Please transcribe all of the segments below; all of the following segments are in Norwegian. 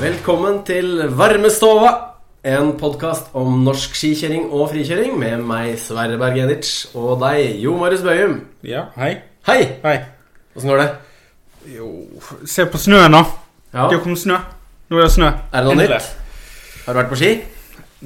Velkommen til Varmestova, en podkast om norsk skikjøring og frikjøring med meg, Sverre Berg Editsch, og deg, Jo Marius Bøyum. Ja, hei. Hei! Hei. Åssen går det? Jo Se på snøen, da. Ja. Det kom snø. Nå er det snø. Er det noe Endelig. nytt? Har du vært på ski?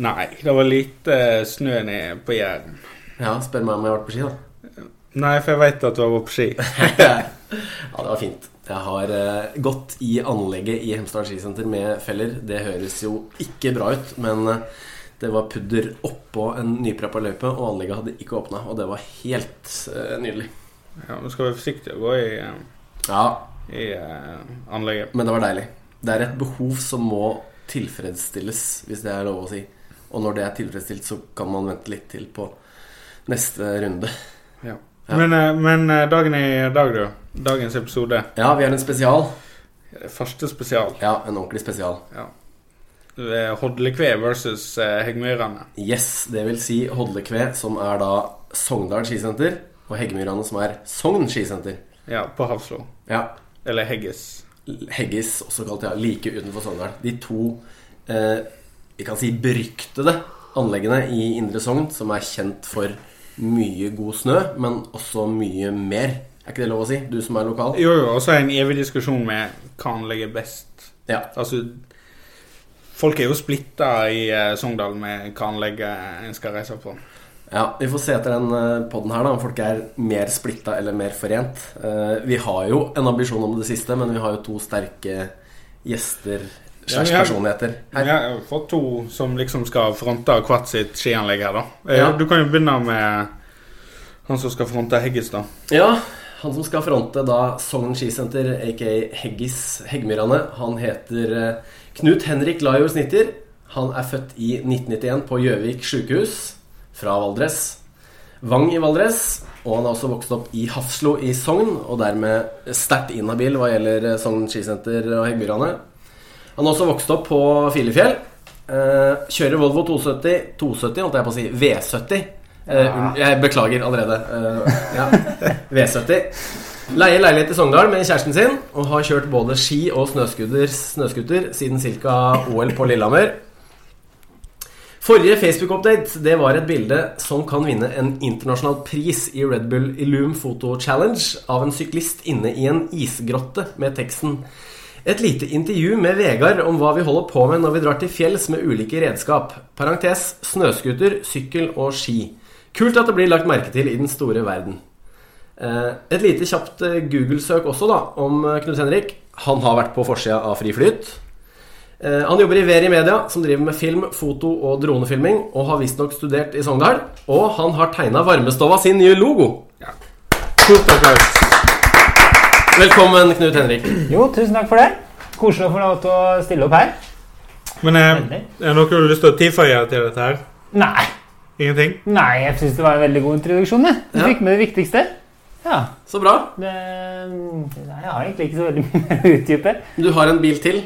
Nei, det var lite snø nede på Jæren. Ja, spør meg om jeg har vært på ski, da. Nei, for jeg veit at du har vært på ski. ja, det var fint. Jeg har eh, gått i anlegget i Hemsedal skisenter med feller. Det høres jo ikke bra ut, men eh, det var pudder oppå en nypreppa løype, og anlegget hadde ikke åpna. Og det var helt eh, nydelig. Ja, Nå skal vi være forsiktige og gå i, eh, Ja, i eh, anlegget. Men det var deilig. Det er et behov som må tilfredsstilles, hvis det er lov å si. Og når det er tilfredsstilt, så kan man vente litt til på neste runde. Ja. Ja. Men, eh, men eh, dagen i dag, du. Dagens episode. Ja, vi har en spesial. Det Første spesial. Ja, en ordentlig spesial. Ja. Det er Hodlekve versus eh, Heggmyrene. Yes, det vil si Hodlekve, som er da Sogndal skisenter, og Heggemyrane, som er Sogn skisenter. Ja, på Havslo. Ja. Eller Hegges. Heggis, også kalt ja, like utenfor Sogndal. De to eh, vi kan si beryktede anleggene i Indre Sogn, som er kjent for mye god snø, men også mye mer. Er ikke det lov å si? Du som er lokal? Jo, jo, og så er det en evig diskusjon med hva anlegget er best. Ja. Altså, folk er jo splitta i eh, Sogndal med hva anlegget en skal reise på. ja. Vi får se etter den poden her, da, om folk er mer splitta eller mer forent. Eh, vi har jo en ambisjon om det siste, men vi har jo to sterke gjester slags Ja, vi har- personligheter Jeg her. har fått to som liksom skal fronte hvert sitt skianlegg her, da. Eh, Ja. Du kan jo begynne med han som skal fronte Heggis, da. Ja, han som skal fronte da Sogn skisenter, aka Heggis Heggmyrane, han heter eh, Knut Henrik Lajor Snitter. Han er født i 1991 på Gjøvik sjukehus fra Valdres. Vang i Valdres, og han er også vokst opp i Hafslo i Sogn, og dermed sterkt inhabil hva gjelder eh, Sogn skisenter og Heggmyrane. Han har også vokst opp på Filefjell. Eh, kjører Volvo 270 270, holdt jeg på å si. V70. Eh, unn- jeg beklager allerede. Eh, ja. V70. Leier leilighet i Sogndal med kjæresten sin og har kjørt både ski og snøskuter, snøskuter siden ca. OL på Lillehammer. Forrige Facebook-update det var et bilde som kan vinne en internasjonal pris i Red Bull Illume Photo Challenge av en syklist inne i en isgrotte med teksten Et lite intervju med Vegard om hva vi holder på med når vi drar til fjells med ulike redskap. Parentes snøscooter, sykkel og ski. Kult at det blir lagt merke til i den store verden. Eh, Et lite kjapt eh, Google-søk også da om eh, Knut Henrik. Han har vært på forsida av Fri Flyt. Eh, Han jobber i Veri Media, som driver med film, foto og dronefilming, og har visstnok studert i Sogndal. Og han har tegna Varmestova sin nye logo. Ja. Stort applaus. Velkommen, Knut Henrik. Jo, tusen takk for det. Koselig å få lov til å stille opp her. Men eh, Veldig. er det noe du har lyst til å tilføye til dette her? Nei, Ingenting? nei, jeg syns det var en veldig god introduksjon. jeg. Du Ja. fikk med det viktigste. Ja. Så bra. Det, nei, jeg har egentlig ikke så veldig mye mer å utdype. Du har en bil til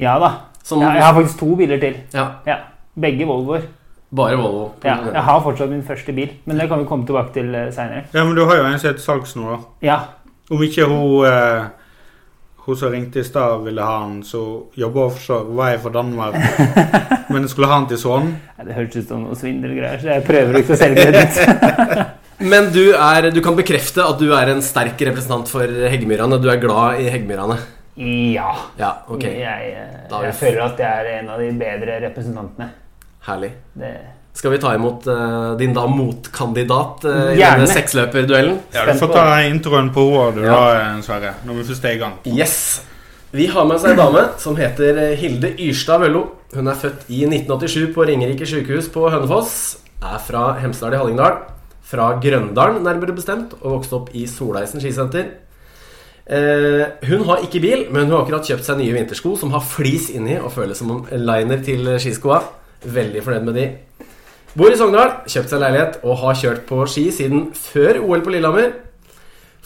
Ja da. som Jeg, jeg har faktisk to biler til. Ja, Ja, Begge Volvoer. bare Volvo. Ja, jeg har fortsatt min første bil, men det kan vi komme tilbake til seinere. Ja, men du har jo en som heter salgs nå, da. Ja. Om ikke hun eh, Hun som ringte i stad, ville ha han, så jobba offshore, var jeg fra Danmark, men skulle ha han til sønnen. Nei, Det høres ut som noe svindelgreier, så jeg prøver ikke å selge det ut. Men du, er, du kan bekrefte at du er en sterk representant for Heggmyrane. Du er glad i Heggmyrane. Ja. Ja, ok. Jeg, eh, Da er jeg vi- føler at jeg er en av de bedre representantene. Herlig. Det Skal vi ta imot eh, din da motkandidat eh, i Gjerne. denne seksløperduellen? Ja, du får Spent på ta introen på henne, du da, eh, Sverre. Når vi først er i gang. Yes. Vi har med oss ei dame som heter eh, Hilde Yrstad Vøllo. Hun er født i 1987 på Ringerike sykehus på Hønefoss. Er fra Hemsedal i Hallingdal. Fra Grøndalen, nærmere bestemt, og vokste opp i Soleisen skisenter. Eh, hun har ikke bil, men hun har akkurat kjøpt seg nye vintersko som har flis inni og føles som en liner til eh, skiskoa. Veldig fornøyd med de. Bor i Sogndal, kjøpt seg leilighet og har kjørt på ski siden før OL på Lillehammer.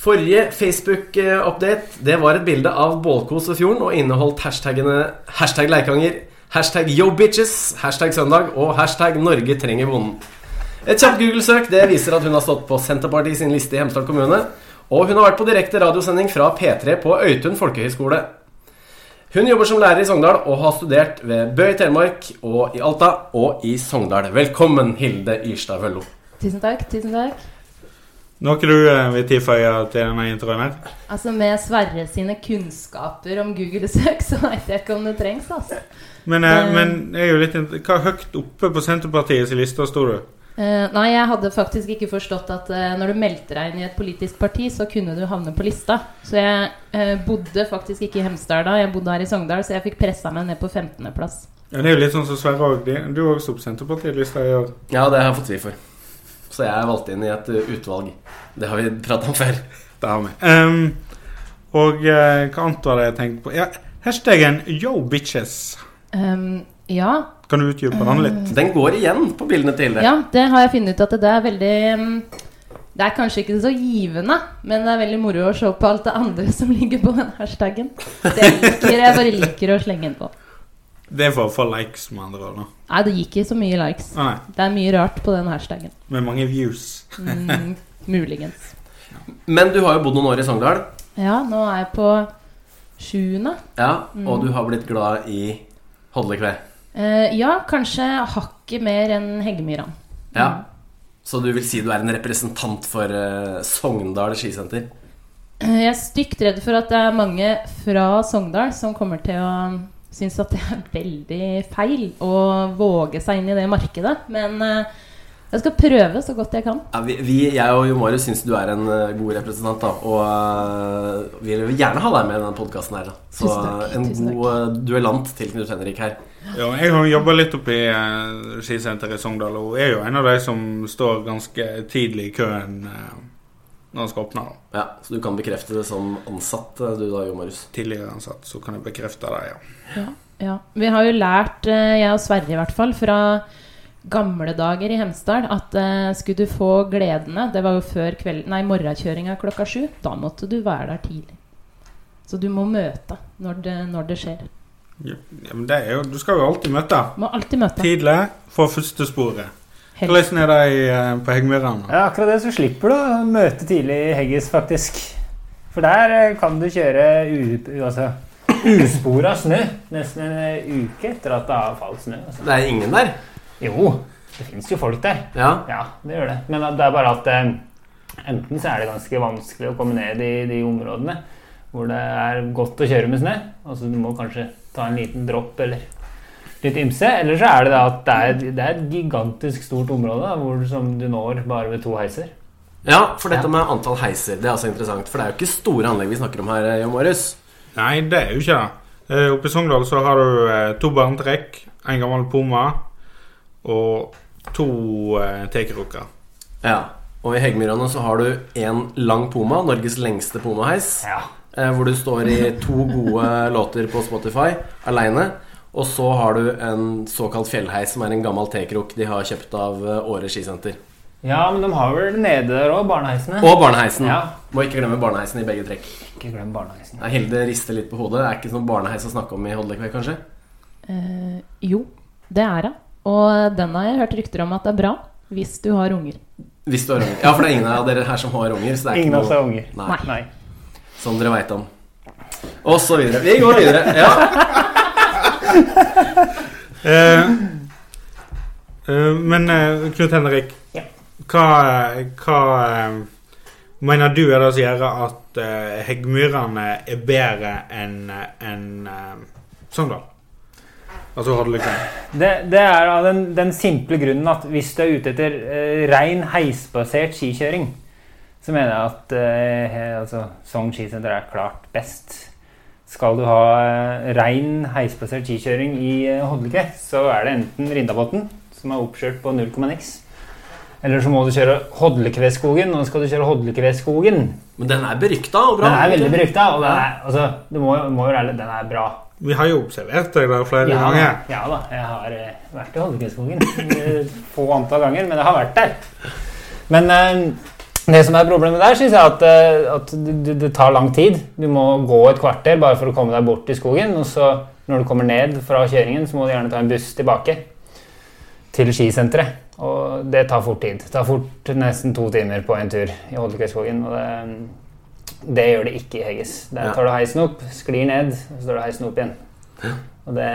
Forrige Facebook-update Det var et bilde av bålkos ved fjorden og inneholdt hashtagene hashtag Leikanger, hashtag yo bitches, hashtag søndag og hashtag Norge trenger bonden. Et kjapt Google-søk det viser at hun har stått på Senterpartiet sin liste i Hemsedal kommune. Og hun har vært på direkte radiosending fra P3 på Øytun folkehøgskole. Hun jobber som lærer i Sogndal og har studert ved Bø i Telemark og i Alta og i Sogndal. Velkommen, Hilde Yrstad Vøllo. Tusen takk. tusen takk. Noe du eh, vil tilføye til denne introen her? Altså Med Sverre sine kunnskaper om Google-søk, så veit jeg ikke om det trengs. altså. Men, eh, Eh. men jeg er jo litt int- Hva høyt oppe på Senterpartiets liste sto du? Eh, nei, jeg hadde faktisk ikke forstått at eh, når du meldte deg inn i et politisk parti, så kunne du havne på lista. Så jeg eh, bodde faktisk ikke i Hemsedal da, jeg bodde her i Sogndal, så jeg fikk pressa meg ned på 15.-plass. Ja, det er jo litt sånn som Sverre òg. Du er også på Senterpartiets liste i år. Ja, det har jeg fått tvi for. Så jeg er valgt inn i et eh, utvalg. Det har vi pratet om før. Det har vi. Ehm, og eh, hva annet var det jeg tenkte på? Ja, hashtaggen yo bitches. Um, ja, eh, Kan du utdype den litt? Den går igjen på bildene til Hilde. Ja, det har jeg funnet ut at det er veldig mm, Det er kanskje ikke så givende, men det er veldig moro å se på alt det andre som ligger på den hashtagen. Så jeg liker, jeg bare liker å slenge den på. Det er for å få likes, med andre ord. nå. Nei, det gikk ikke så mye likes. Å nei, Det er mye rart på den hashtagen. med mange views. Mm, muligens. Men du har jo bodd noen år i Sogndal, Ja, nå er jeg på sjuende. ja, Mm. og du har blitt glad i Hodlekve. Eh, ja, kanskje hakket mer enn Heggemyran. Ja. Mm. Så du vil si du er en representant for eh, Sogndal skisenter? Eh, Jeg er stygt redd for at det er mange fra Sogndal som kommer til å um, synes at det er veldig feil å våge seg inn i det markedet. Men eh, jeg skal prøve så godt jeg kan. Ja, vi, vi, jeg og Jo Marius syns du er en eh, god representant, da. Og eh, vi vil gjerne ha deg med i denne podkasten her. Da. Så Tusen takk, eh, en tusen god eh, duellant til Knut Henrik her. Ja, jeg har jobba litt oppe i eh, skisenteret i Sogndal, og er jo en av de som står ganske tidlig i køen eh, når en skal åpne. da. Ja, så du kan bekrefte det som ansatt, eh, du da, Jo Marius. Tidligere ansatt, så kan jeg bekrefte det, ja. Ja. Vi har jo lært, eh, jeg og Sverre i hvert fall, fra gamle dager i Hemsedal at eh, skulle du få gledene Det var jo før kveld, nei, morgenkjøringa klokka sju. Da måtte du være der tidlig. Så du må møte når det, når det skjer. ja men det er jo, du skal jo alltid møte. Må alltid møte. Tidlig får første sporet. Helst. Hvordan er det i, eh, på Heggemyrene? Ja, akkurat det så slipper du å møte tidlig i Heggis, faktisk. For der eh, kan du kjøre u, u, altså, uspora snø nesten en eh, uke etter at det har falt snø. Altså. Det er ingen der. Jo, det fins jo folk der. Ja. Ja, det gjør det. Men at det er bare at eh, enten så er det ganske vanskelig å komme ned i de områdene hvor det er godt å kjøre med snø. Altså du må kanskje ta en liten dropp eller litt ymse. Eller så er det da at det er, det er et gigantisk stort område da, hvor, som du når bare ved to heiser. ja, for dette med antall heiser, det er altså interessant. For det er jo ikke store anlegg vi snakker om her, eh, Jo Marius. Nei, det er jo ikke det. Eh, Oppe i Sogndal så har du eh, to barnetrekk, en gammel poma og to eh, tekerukker. Ja. Og i Heggmyrane så har du en lang poma, Norges lengste pomaheis. Ja. Eh, hvor du står i to gode låter på Spotify aleine. Og så har du en såkalt fjellheis, som er en gammel tekrok de har kjøpt av eh, Åre skisenter. ja, men de har vel nede der òg, barneheisene. Og barneheisen. Ja. Må ikke glemme barneheisen i begge trekk. Ikke glem barneheisen. Nei, Hilde rister litt på hodet. Det er ikke sånn barneheis å snakke om i Hodlekveld, kanskje? Eh, jo, det er det. Og den har jeg hørt rykter om at det er bra hvis du har unger. Hvis du har unger. Ja, for det er ingen av dere her som har unger. Så det er Ingen ikke av oss noe har unger. Nei. Nei. Nei. som dere veit om. Og så videre. Vi går videre. Ja. Eh, eh, men eh, Knut Henrik, Ja. hva, hva eh, mener du er det som gjør at eh, Heggmyrene er bedre enn eh, enn, eh, Sogndal? Altså Hordalikveien. Det, det er av den, den simple grunnen at hvis du er ute etter eh, rein heisbasert skikjøring, så mener jeg at eh, he- altså, Sogn skisenter er klart best. Skal du ha eh, rein heisbasert skikjøring i eh, Hodlike, så er det enten Rindabotn, som er oppkjørt på 0,x, eller så må du kjøre Hodlikevedskogen, og skal du kjøre Hodlikevedskogen. Men den er berykta og bra. Den er veldig berykta, og den er, altså, det må, må jo være litt- den er bra. Vi har jo observert deg der flere Ja, ganger. ja da, jeg har eh, vært i Holmenkollskogen eh, få antall ganger, men jeg har vært der. Men eh, det som er problemet der, syns jeg at, eh, at du- du- det tar lang tid. Du må gå et kvarter bare for å komme deg bort i skogen, og så når du kommer ned fra kjøringen, så må du gjerne ta en buss tilbake til skisenteret. Og det tar fort tid. Det tar fort nesten to timer på en tur i Holmenkollskogen. Og det, det gjør det ikke i Hegges. Der tar du heisen opp, sklir ned, og så tar du heisen opp igjen. Og det,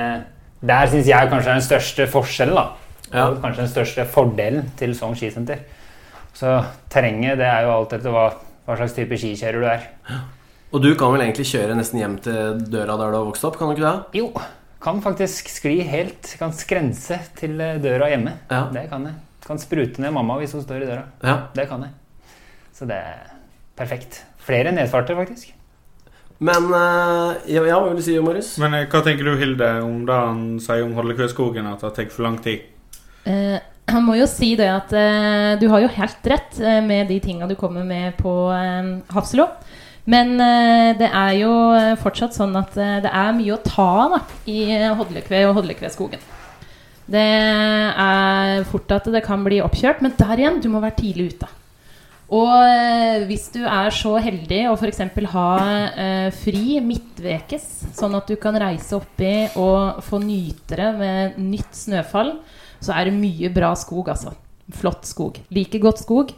der syns jeg kanskje er den største forskjellen, da. Ja. Og kanskje den største fordelen til Sogn skisenter. Så terrenget, det er jo alt etter hva, hva slags type skikjører du er. Og du kan vel egentlig kjøre nesten hjem til døra der du har vokst opp, kan du ikke det? Jo, kan faktisk skli helt, kan skrense til eh, døra hjemme. Ja. Det kan jeg. Kan sprute ned mamma hvis hun står i døra. Ja. Det kan jeg. Så det er perfekt. Flere nedfarter, faktisk. Men eh, ja, ja, hva vil du si, Marius? Men eh, hva tenker du, Hilde, om det han sier om Hodlekøskogen, at det tar for lang tid? Eh, han må jo si det at eh, du har jo helt rett eh, med de tinga du kommer med på eh, Hafslo. Men eh, det er jo eh, fortsatt sånn at eh, det er mye å ta av da, i eh, Hodlekve og Hodlekveskogen. Det er fort at det kan bli oppkjørt, men der igjen, du må være tidlig ute. Og eh, hvis du er så heldig å f.eks. ha eh, fri midtvekes, sånn at du kan reise oppi og få nyte det med nytt snøfall, så er det mye bra skog, altså. Flott skog. Like godt skog.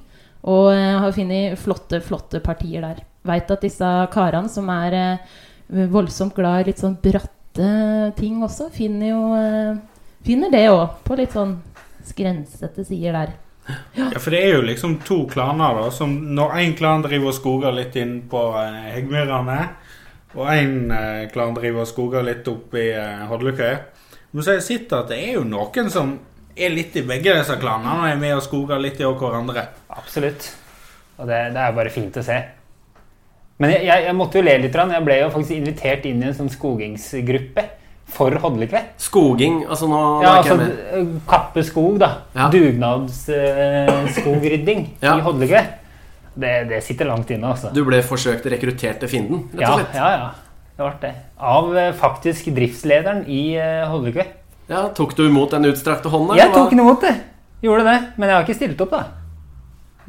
Og eh, har funnet flotte, flotte partier der. Veit at disse karene som er eh, voldsomt glad i litt sånn bratte ting også, finner jo eh, Finner det òg, på litt sånn skrensete sider der. Ja, For det er jo liksom to klaner, da. Som når én klan driver og skoger litt inn på eh, Heggmyrene, og én eh, klan driver og skoger litt opp i eh, Hodlekøy Men så sitter det at det er jo noen som er litt i begge disse klanene, og er med og skoger litt i hverandre. Absolutt. Og det, det er bare fint å se. Men jeg, jeg, jeg måtte jo le litt. grann. Jeg ble jo faktisk invitert inn i en sånn skogingsgruppe for Hodlekve. Skoging, altså nå nå Ja, er ikke altså jeg med. eh, Kappe skog, da. Ja. Dugnadsskogrydding Ja. i Hodlekve. Det, det sitter langt inne, altså. Du ble forsøkt rekruttert til fienden, rett Ja, og slett. ja, ja. Det ble det. Av eh, faktisk driftslederen i eh, Hodlekve. Ja, Tok du imot den utstrakte hånda? Jeg eller hva? tok den imot det! Gjorde det. Men jeg har ikke stilt opp, da.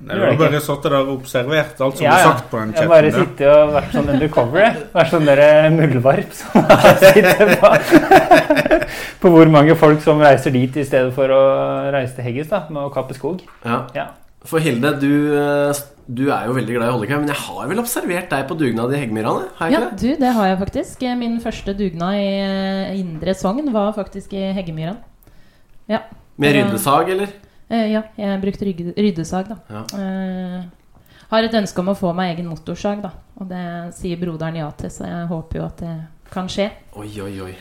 Du gjør har det bare sittet der og observert alt som Ja, blir ja. sagt på den Jeg har bare chatten. sittet og vært sånn undercover. jeg. Vært sånn der muldvarp som sitter på, på hvor mange folk som reiser dit i stedet for å reise til Heggis da, med å kappe skog. Ja. Ja. For Hilde, du, eh, du er jo veldig glad i Hollekøy, men jeg har vel observert deg på dugnad i Heggmyrene? Har jeg Ja, ikke det? du, det har jeg faktisk. Eh, Min første dugnad i eh, Indre Sogn var faktisk i Heggemyran. Ja. Med Ja. ryddesag, eller? Eh, ja, jeg brukte rygge- ryddesag, da. Ja. Eh, har et ønske om å få meg egen motorsag, da. Og det sier broderen ja til, så jeg håper jo at det kan skje. Oi, oi, oi.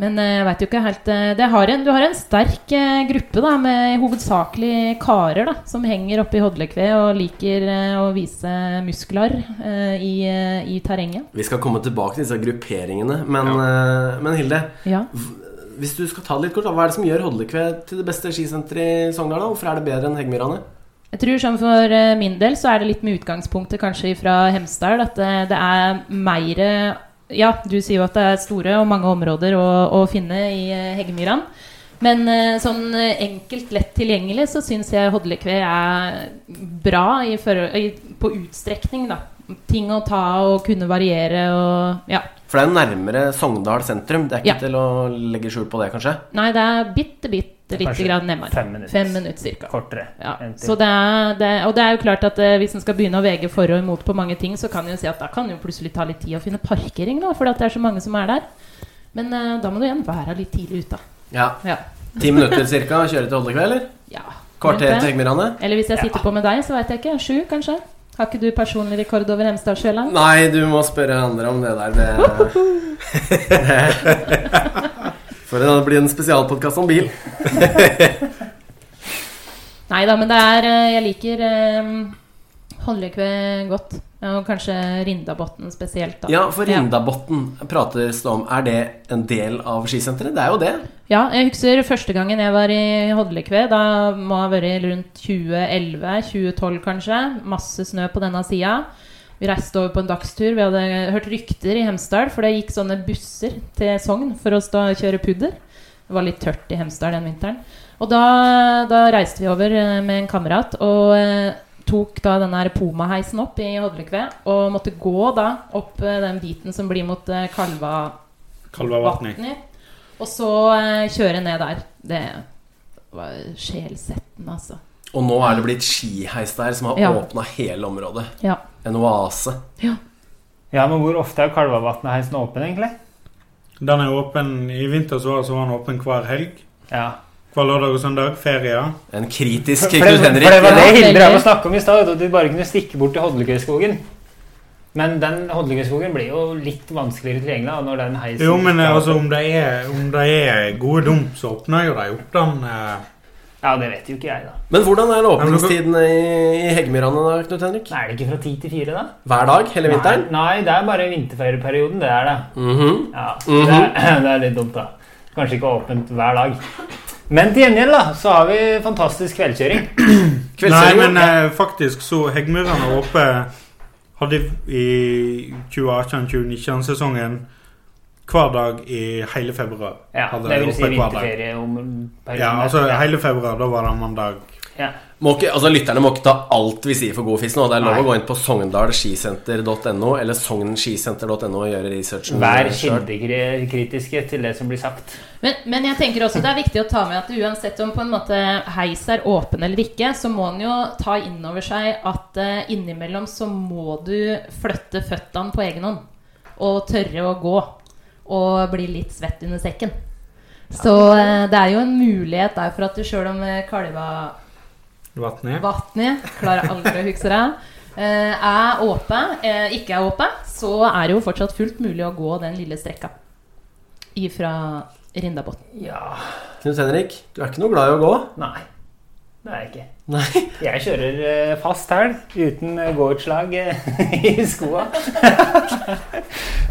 Men eh, jeg veit jo ikke helt eh, det har en, Du har en sterk eh, gruppe da, med hovedsakelig karer da, som henger oppe i hodlekve og liker eh, å vise muskler eh, i, eh, i terrenget. Vi skal komme tilbake til disse grupperingene, men, eh, men Hilde, Ja. hvis du skal ta det litt kort, da, hva er det som gjør Hodlekve til det beste skisenteret i Sogndal? da? Hvorfor er det bedre enn Heggmyrane? Jeg tror sånn For eh, min del så er det litt med utgangspunktet kanskje fra Hemsedal at eh, det, det er mer eh, Ja, du sier jo at det er store og mange områder å, å finne i eh, Heggemyran. Men eh, sånn eh, enkelt, lett tilgjengelig så syns jeg Hodlekve er bra i forhold, i, på utstrekning, da. Ting å ta og kunne variere og Ja. For det er nærmere Sogndal sentrum. Det er ikke Ja. til å legge skjul på det, kanskje? Nei, det er bitte, bitte lite Kanskje grann nærmere. fem minutter. Fem minutter cirka. Kortere. Ja, enn til- så det er, det, og det er jo klart at eh, hvis en skal begynne å vege for og imot på mange ting, så kan en jo si at da kan det jo plutselig ta litt tid å finne parkering, da, fordi at det er så mange som er der. Men eh, da må du igjen være litt tidlig ute. Ja. Ja. Ti minutter ca. kjøre til Hodlekve, eller? ja. Kvarter rundt til det. Heggmyrane? Eller hvis jeg sitter på med deg, så veit jeg ikke. Sju, kanskje? Har ikke du personlig rekord over Hemsedalsjøland? Nei, du må spørre andre om det der. Det... For det blir en spesialpodkast om bil. Nei da, men det er eh, Jeg liker eh, Hollekve godt. Ja, Og kanskje Rindabotn spesielt, da. Ja, for Rindabotn prates det om. Er det en del av skisenteret? Det er jo det. Ja, jeg husker første gangen jeg var i Hodlekve. Da må ha vært rundt 2011-2012, kanskje. Masse snø på denne sida. Vi reiste over på en dagstur. Vi hadde hørt rykter i Hemsedal, for det gikk sånne busser til Sogn for å stå og kjøre pudder. Det var litt tørt i Hemsedal den vinteren. Og da, da reiste vi over eh, med en kamerat og eh, tok da den der Poma-heisen opp i Hodlekve og måtte gå da opp eh, den biten som blir mot eh, Kalva Kalvavatni. Vatni. Og så eh, kjøre ned der. Det var sjelsettende, altså. Og nå er det blitt skiheis der som har Ja. åpnet åpna hele området. Ja. En oase. Ja, men hvor ofte er Kalvavatnet-heisen åpen, egentlig? Den er åpen, I vinter så var, så var den åpen hver helg. Ja. Hver lørdag og søndag. Ferier. En kritisk For, for, Knut det, Henrik. for det var det Ja, Hilde drev veldig. og snakka om i stad, at du bare kunne stikke bort til Hodlekøyskogen. Men den Hodlekøyskogen blir jo litt vanskeligere tilgjengelig da, når den heisen Jo, men eh, altså, om det er, om det er gode dum, så åpner jo de opp den. eh, Ja, det vet jo ikke jeg, da. Men hvordan er men du kan- åpningstiden i, i Heggmyrane da, Knut Henrik? Nei, Er det ikke fra ti til fire, da? Hver dag hele vinteren? Nei, nei, det er bare vinterferieperioden. Det er det. Mhm. Ja, Mhm. det, er, det er litt dumt, da. Kanskje ikke åpent hver dag. Men til gjengjeld da, så har vi fantastisk kveldskjøring. Nei, Kveldssending? men eh, faktisk så Heggmyrene er oppe hadde i 2018-2019-sesongen hver dag i hele februar. Ja, Hadde det vil si oppe hver dag. vinterferieperioden. Ja, altså hele februar, da var det mandag. ja. Må ikke, altså Lytterne må ikke ta alt vi sier for god fisk nå. Det er lov Nei. å gå inn på sogndalskisenter.no eller sognskisenter.no og gjøre researchen. Vær selv. kildekritiske til det som blir sagt. Men, men jeg tenker også det er viktig å ta med at uansett om på en måte heis er åpen eller ikke, så må en jo ta inn over seg at eh, innimellom så må du flytte føttene på egen hånd. Og tørre å gå. Og bli litt svett under sekken. Så eh, det er jo en mulighet der for at du sjøl om eh, kalva Vatt ned. Vatnet, klarer aldri å huske det. Eh, er åpe, eh, ikke er åpe, så er det jo fortsatt fullt mulig å gå den lille strekka ifra Rindabotn. Ja Knut Henrik, du er ikke noe glad i å gå? Nei. Det er jeg ikke. Nei. Jeg kjører eh, fast hæl uten eh, gåutslag eh, i skoa.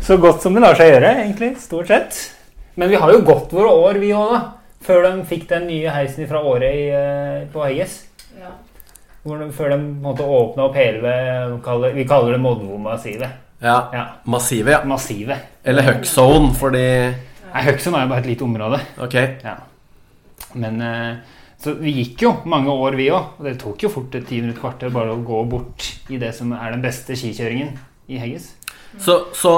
Så godt som det lar seg gjøre, egentlig. Stort sett. Men vi har jo gått våre år, vi òg, da. Før de fikk den nye heisen fra Årøy eh, på Hegges. Hvor de, før de måtte åpne opp hele kalle- Vi kaller det Modvo-massivet. Ja. Ja, Massive, ja. massivet. Eller Huckzone, fordi Nei, Høgson er jo bare et lite område. Ok. Ja. Men eh, Så vi gikk jo mange år, vi òg. Og det tok jo fort et ti minutter kvarter bare å gå bort i det som er den beste skikjøringen i Hegges. Så, så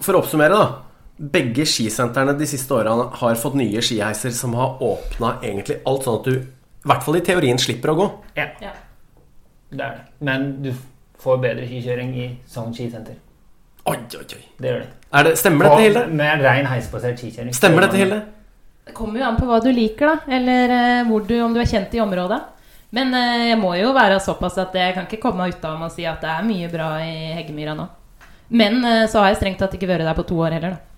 for å oppsummere, da. Begge skisentrene de siste årene har fått nye skiheiser som har åpna egentlig alt, sånn at du i hvert fall i teorien slipper å gå. Ja. Det er det. Men du får bedre skikjøring i Sogn skisenter. Oi, oi, oi. Det gjør det. Er det, stemmer dette, Hilde? Med rein heisbasert skikjøring. Stemmer dette, Hilde? Det kommer jo an på hva du liker, da. Eller eh, hvor du, om du er kjent i området. Men eh, jeg må jo være såpass at jeg kan ikke komme meg ut av med å si at det er mye bra i Heggemyra nå. Men eh, så har jeg strengt tatt ikke vært der på to år heller, da.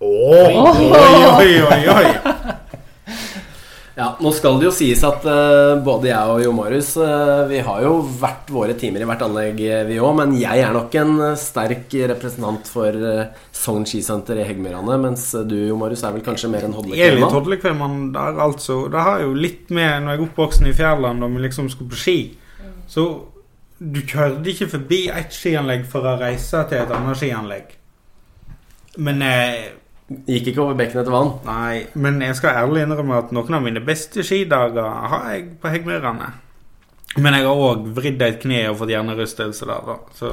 Oi, oi, oi, oi, oi. Ja, Nå skal det jo sies at eh, både jeg og Jo Marius eh, Vi har jo hvert våre timer i hvert anlegg, eh, vi òg. Men jeg er nok en eh, sterk representant for eh, Sogn skisenter i Heggmyrane. Mens eh, du, Jo Marius, er vel kanskje mer en Jeg er litt hodlekvinne? hodlekveld, men det er altså Det har jo litt med Når jeg er oppvoksen i Fjærland og vi liksom skulle på ski, så du kjørte ikke forbi ett skianlegg for å reise til et annet skianlegg. Men eh, Gikk ikke over bekken etter vann. Nei, men jeg skal ærlig innrømme at noen av mine beste skidager har jeg på Heggmyrene. Men jeg har òg vridd et kne og fått hjernerystelse der, da. Så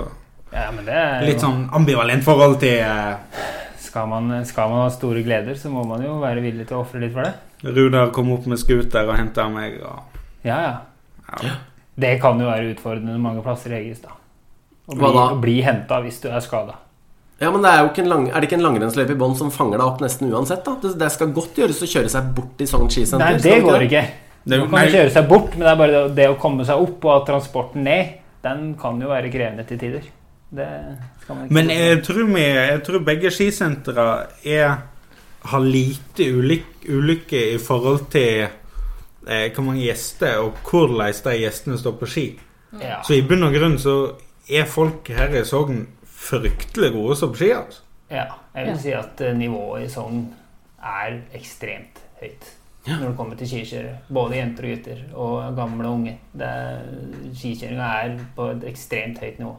Ja, men det er jo- litt sånn ambivalent forhold til eh, skal, man, skal man ha store gleder, så må man jo være villig til å ofre litt for det. Runar kom opp med scooter og henta meg og Ja, ja. ja. Det kan jo være utfordrende mange plasser i Hegges, da. Å bli, Hva da? å bli henta hvis du er skada. Ja, men det er, jo ikke en lang, er det ikke en langrennsløype i bånn som fanger deg opp nesten uansett? da? Det, det skal godt gjøres å kjøre seg bort i Sogn skisenter. Nei, det skal går ikke. Det- Man kan jo kjøre seg bort, men det er bare det, det å komme seg opp og at transporten ned, den kan jo være krevende til tider. Det skal man ikke Men eh, jeg tror, vi, jeg tror begge skisentra er har lite ulyk- ulykke i forhold til eh, hvor mange gjester og hvordan de gjestene står på ski. ja. Så i bunn og grunn så er folk her i Sogn fryktelig gode som ski, altså. ja, jeg Ja. vil si at eh, nivået i Sogn er ekstremt høyt når det kommer til skikjørere. Både jenter og gutter, og gamle og unge. Det er- Skikjøringa er på et ekstremt høyt nivå.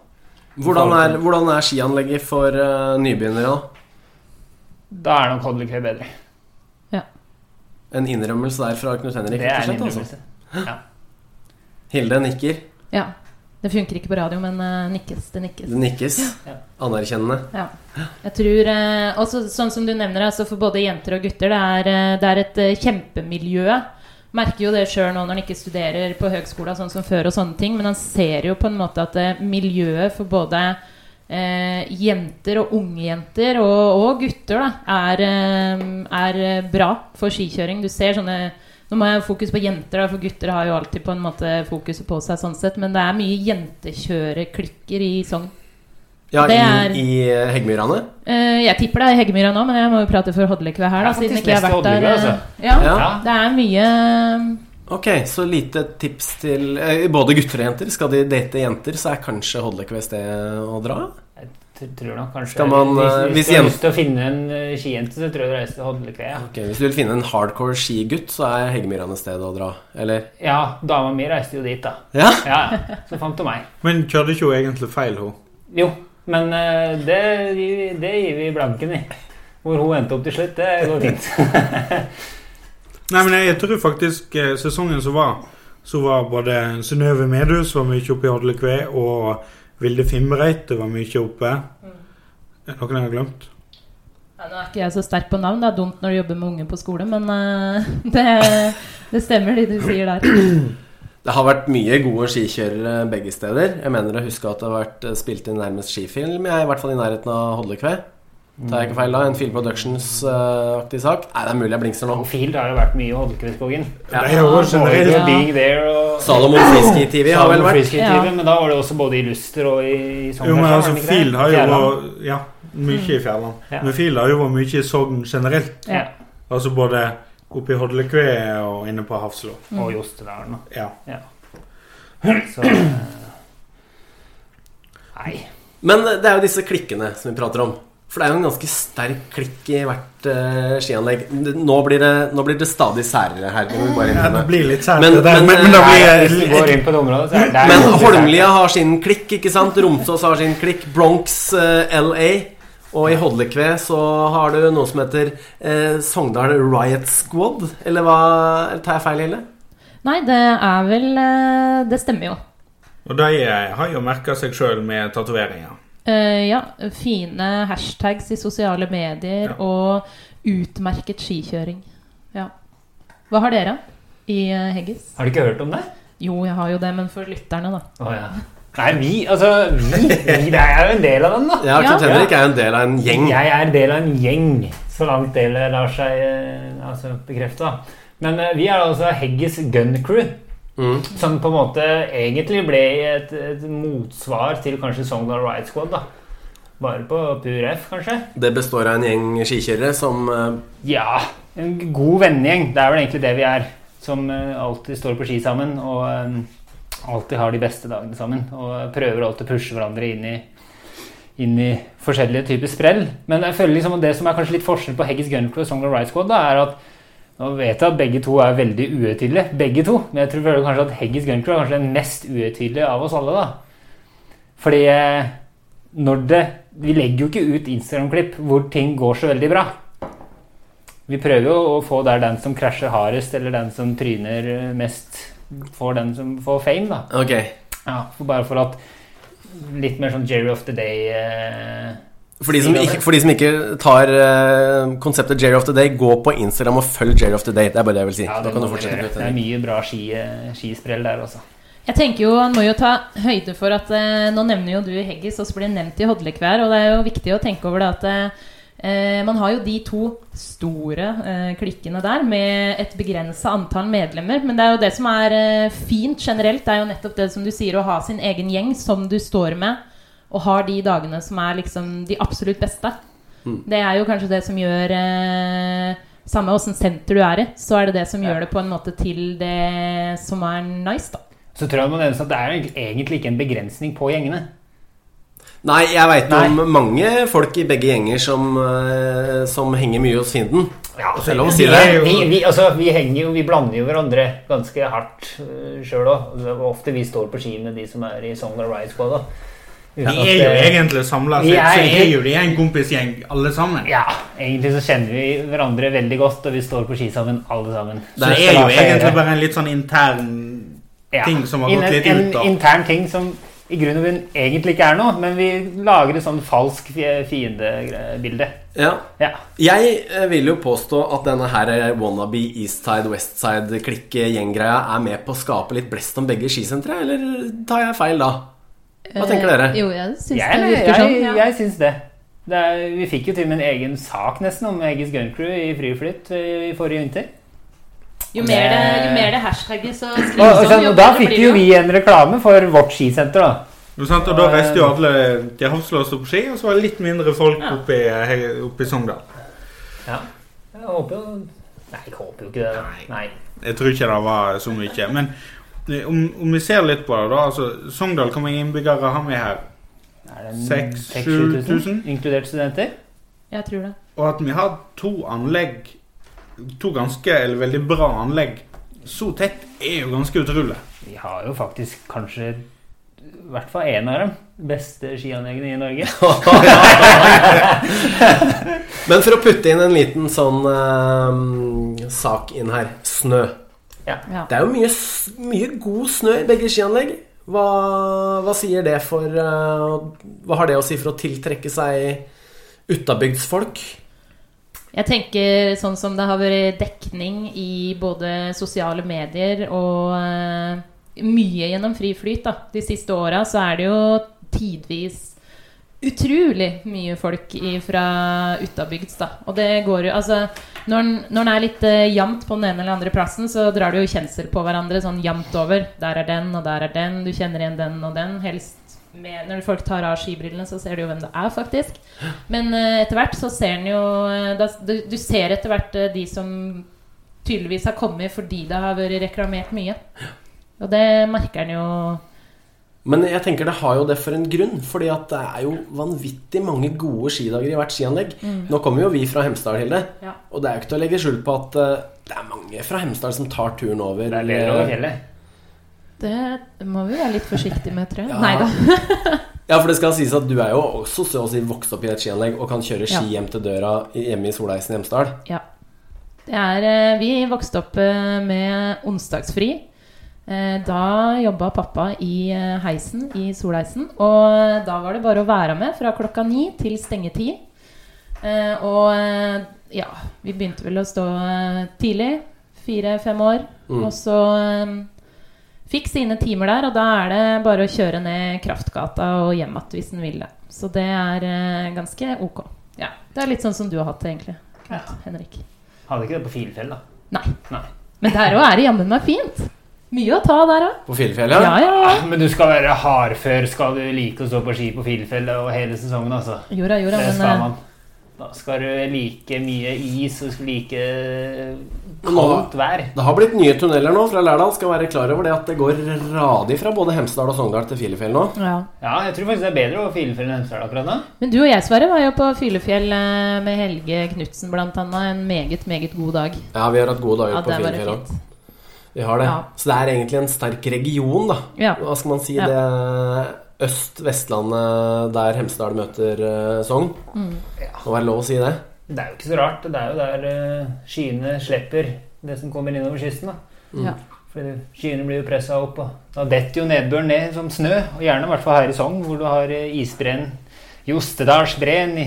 Hvordan er, hvordan er skianlegget for eh, nybegynnere, da? Da er nok Hodlekøy bedre. En innrømmelse der fra Knut Henrik. Det er rett og en slett, altså. innrømmelse. Hilde nikker. Ja. Det funker ikke på radio, men eh, nikkes. Det nikkes. Det nikkes. Ja. Anerkjennende. Ja. Jeg tror eh, også, Sånn som du nevner, altså for både jenter og gutter, det er, eh, det er et eh, kjempemiljø. Merker jo det sjøl nå når han ikke studerer på høgskolen sånn som før og sånne ting, men han ser jo på en måte at eh, miljøet for både eh, jenter og unge jenter, og, og gutter, da, er, eh, er bra for skikjøring. Du ser sånne Nå må jeg ha fokus på jenter, da, for gutter har jo alltid på en måte fokuset på seg, sånn sett, men det er mye jentekjøreklikker i sånn Sogn. Ja, Det i, er- i eh, Heggmyrane. Eh, jeg tipper det er Hegemyra nå, men jeg må jo prate for Hodlekve her, da, Det er siden faktisk ikke jeg har mest vært der. Hodlekve, eh, altså. Ja, Ja. Det er mye Ok, så lite tips til eh, både gutter og jenter. Skal de date jenter, så er kanskje Hodlekves det å dra? Tr- Tror nok kanskje Skal man, Hvis, eh, hvis hvis du har jen- lyst til å finne en eh, skijente, så tror jeg du reiser til Hodlekve. Ja. Ok, Hvis du vil finne en hardcore skigutt, så er Heggmyrane stedet å dra. Eller? ja, dama mi reiste jo dit, da. Ja? Ja, ja. Så fant hun meg. Men kjørte ikke hun egentlig feil, hun? Jo, men eh, det, gir- det gir vi blanken i. Hvor hun endte opp til slutt, det går fint. Nei, men jeg tror faktisk eh, sesongen som var, så var både Synnøve Medus var mye oppe i Hodlekve, og Vilde Fimreite var mye oppe. Er det Noen jeg har glemt? ja, Nå er ikke jeg så sterk på navn, det er dumt når du jobber med unge på skole, men eh, det, det stemmer, det du sier der. Det har vært mye gode skikjørere begge steder. Jeg mener å huske at det har vært eh, spilt inn nærmest skifilm, jeg, i hvert fall i nærheten av Hodlekve. Tar jeg ikke feil da? En Film Productions-aktig sak? Nei, det er mulig jeg blingser nå. Field har jo vært mye i Hodlekveskogen. Ja. Det er jo generelt Både Ja. Being There og Salomon Friski TV har vel vært Friskid Ja. TV, Men da var det også både i Luster og i, i Sogn Jo, men og Fjordane, altså, ikke det? Field har jo Fjærland. vært Ja, mye i Fjærland. Mm. Ja. Men Field har jo vært mye i Sogn generelt. Ja. Altså både oppe i Hodlekve og inne på Hafslo. Og Jostedalen. da. Ja. Så eh, Nei. Men det er jo disse klikkene som vi prater om. For det er jo en ganske sterk klikk i hvert eh, skianlegg. Nå blir, det, nå blir det stadig særere her. Det må vi bare Ja, innrømme. det blir litt sært, Men- det der, men- men, men da blir Hvis vi går inn på det området, så er det Men Holmlia har sin klikk, ikke sant? Romsås har sin klikk. Bronx, eh, LA. Og i Hodlekve så har du noe som heter eh, Sogndal Riot Squad. Eller hva eller tar jeg feil, Hille? Nei, det er vel eh, Det stemmer jo. Og de eh, har jo merka seg sjøl med tatoveringer. Eh, ja, fine hashtags i sosiale medier Ja. og utmerket skikjøring. Ja. Hva har dere i eh, Heggis? Har du ikke hørt om det? Jo, jeg har jo det, men for lytterne, da. Å ja. Nei, vi Altså, vi, vi det er jo en del av den, da. Ja, Knut Ja. Henrik er jo en del av en gjeng. Jeg er en del av en gjeng, så langt det lar seg eh, altså, bekrefte. da. Men eh, vi er altså Heggis Gun Crew, Mm. som på en måte egentlig ble et, et motsvar til kanskje Sogndal Riot Squad. da. Bare på pur F, kanskje. Det består av en gjeng skikjørere som eh, Ja, en god vennegjeng. Det er vel egentlig det vi er. Som eh, alltid står på ski sammen og eh, alltid har de beste dagene sammen. Og prøver alltid å pushe hverandre inn i, inn i forskjellige typer sprell. Men jeg føler liksom at det som er kanskje litt forskjell på Heggis Gun Crew og Song of Ride Squad, da, er at nå vet jeg at begge to er veldig uetydelige, begge to. Men jeg tror føler kanskje at Heggis Gun Crew er kanskje den mest uetydelige av oss alle, da. Fordi eh, når det Vi legger jo ikke ut Instagram-klipp hvor ting går så veldig bra. Vi prøver jo å få der den som krasjer hardest, eller den som tryner eh, mest, får den som får fame, da. Ok. Ja, for bare for at Litt mer sånn Jerry of the Day eh, For de som ikke, for de som ikke tar eh, konseptet Jerry of the Day, gå på Instagram og følg Jerry of the Day. Det er bare det jeg vil si. ja, da det, kan du må vi fortsette. gjøre. Knut det er Henrik. mye bra ski, eh, skisprell der, altså. Jeg tenker jo, Han må jo ta høyde for at eh, nå nevner jo du Heggis, og så blir det nevnt i Hodlekvær. Og det er jo viktig å tenke over det at eh, man har jo de to store eh, klikkene der med et begrensa antall medlemmer. Men det er jo det som er eh, fint generelt, det er jo nettopp det som du sier, å ha sin egen gjeng som du står med, og har de dagene som er liksom de absolutt beste. Det er jo kanskje det som gjør eh, Samme åssen senter du er i, så er det det som Ja. gjør det på en måte til det som er nice, da. Så tror jeg det må nevnes at det er jo egentlig ikke en begrensning på gjengene. Nei, jeg veit Nei. om mange folk i begge gjenger som, eh, som henger mye hos fienden. Ja, Det er lov å si Altså, vi, det. vi, vi, altså, vi henger jo, vi blander jo hverandre ganske hardt uh, sjøl òg. Ofte vi står på ski med de som er i Song of Ride Squad. da. Uten De at, er jo eh, egentlig samla, Vi så er- så de er jo de er en kompisgjeng alle sammen. Ja, egentlig så kjenner vi hverandre veldig godt, og vi står på ski sammen, alle sammen. Så det er jo egentlig bare en litt sånn intern ting som har gått en, litt en ut av. intern ting som i grunn og bunn egentlig ikke er noe, men vi lager et sånn falsk fie- fiendebilde. Ja. Ja. Jeg eh, vil jo påstå at denne her eh, wannabe Eastside, Westside-klikke-gjenggreia er med på å skape litt blest om begge skisentre, eller tar jeg feil da? Hva tenker dere? Eh, Jo, jeg syns Jeg, det jeg, virker sånn. jeg, ja. syns det. det er, vi fikk jo til og med en egen sak nesten om Eggis Gun Crew i Friflytt eh, i forrige vinter. Jo mer det, jo mer det hashtagges og Og, og, skrives om, sånn, jo og da bedre fikk blir jo det. vi en reklame for vårt skisenter, da. Og sant, og da reiste jo alle til Hafslo og sto på ski, og så var det litt mindre folk oppe i, he- oppe i Sogndal. Jeg håper jo Nei, jeg håper jo ikke det. da. Nei. Jeg tror ikke det var så mye. Men om, om vi ser litt på det, da altså, Sogndal, hvor mange innbyggere har vi her? Er det Seks, 6-7 tusen? 000, Inkludert studenter? Jeg tror det. Og at vi har to anlegg, to ganske eller veldig bra anlegg, så tett, er jo ganske utrolig. Vi har jo faktisk kanskje i hvert fall én av dem beste skianleggene i Norge. Men for å putte inn en liten sånn eh, sak inn her. Snø. Ja. Det er jo mye, s- mye god snø i begge skianlegg. Hva, hva sier det for eh, Hva har det å si for å tiltrekke seg utabygdsfolk? Jeg tenker sånn som det har vært dekning i både sosiale medier og eh, mye gjennom friflyt da. de siste åra, så er det jo tidvis utrolig mye folk fra utabygds. da. Og det går jo Altså, når den, når den er litt eh, jevnt på den ene eller andre plassen, så drar du jo kjensel på hverandre sånn jevnt over. Der er den, og der er den. Du kjenner igjen den og den. Helst med, når folk tar av skibrillene, så ser du jo hvem det er, faktisk. Men eh, etter hvert så ser en jo eh, da, du, du ser etter hvert eh, de som tydeligvis har kommet fordi det har vært reklamert mye. Og det merker en jo Men jeg tenker det har jo det for en grunn, fordi at det er jo vanvittig mange gode skidager i hvert skianlegg. Mm. Nå kommer jo vi fra Hemsedal, Hilde, Ja. og det er jo ikke til å legge skjul på at eh, det er mange fra Hemsedal som tar turen over. Det er ler over fjellet. Det må vi være litt forsiktige med, tror jeg. Ja. Nei da. Ja, for det skal sies at du er jo også så å si vokst opp i et skianlegg og kan kjøre ski Ja. hjem til døra i- hjemme i Solheisen i Hemsedal. Ja. Det er, eh, vi vokste opp eh, med onsdagsfri. Eh, Da jobba pappa i eh, heisen i Solheisen, og eh, da var det bare å være med fra klokka ni til stengetid. Eh, Og eh, ja, vi begynte vel å stå eh, tidlig. Fire-fem år. Mm. Og så eh, fikk sine timer der, og da er det bare å kjøre ned Kraftgata og hjem igjen hvis en vil det. Så det er eh, ganske ok. Ja, Det er litt sånn som du har hatt det, egentlig. Ja. Henrik. Hadde ikke det på Filefjell, da. Nei. Nei. Men der òg er det jammen meg fint. Mye å ta der òg. På Filefjellet? Ja, ja, ja. Men du skal være hardfør skal du like å stå på ski på Filefjell og hele sesongen, altså. Jorda, jorda, Det skal men eh, man. Da skal du like mye is, og du skal like Men nå- kaldt vær. Det har blitt nye tunneler nå fra Lærdal. Skal være klar over det at det går radig fra både Hemsedal og Sogndal til Filefjell nå. ja. Ja, jeg tror faktisk det er bedre å Filefjell enn Hemsedal akkurat nå. Men du og jeg, Sverre, var jo på Filefjell eh, med Helge Knutsen blant annet. En meget, meget god dag. Ja, vi har hatt gode dager Ja, på det var det Filefjell òg. fint. Vi har det. Ja. Så det er egentlig en sterk region, da. Ja. Hva skal man si? Ja. Det Øst-Vestlandet der Hemsedal møter eh, Sogn. Mm. Må være lov å si det. Det er jo ikke så rart. Det er jo der eh, skyene slipper det som kommer innover kysten. da. Ja. Fordi Skyene blir jo pressa opp, og da detter jo nedbøren ned som snø. Og gjerne i hvert fall her i Sogn, hvor du har eh, isbreen Jostedalsbreen i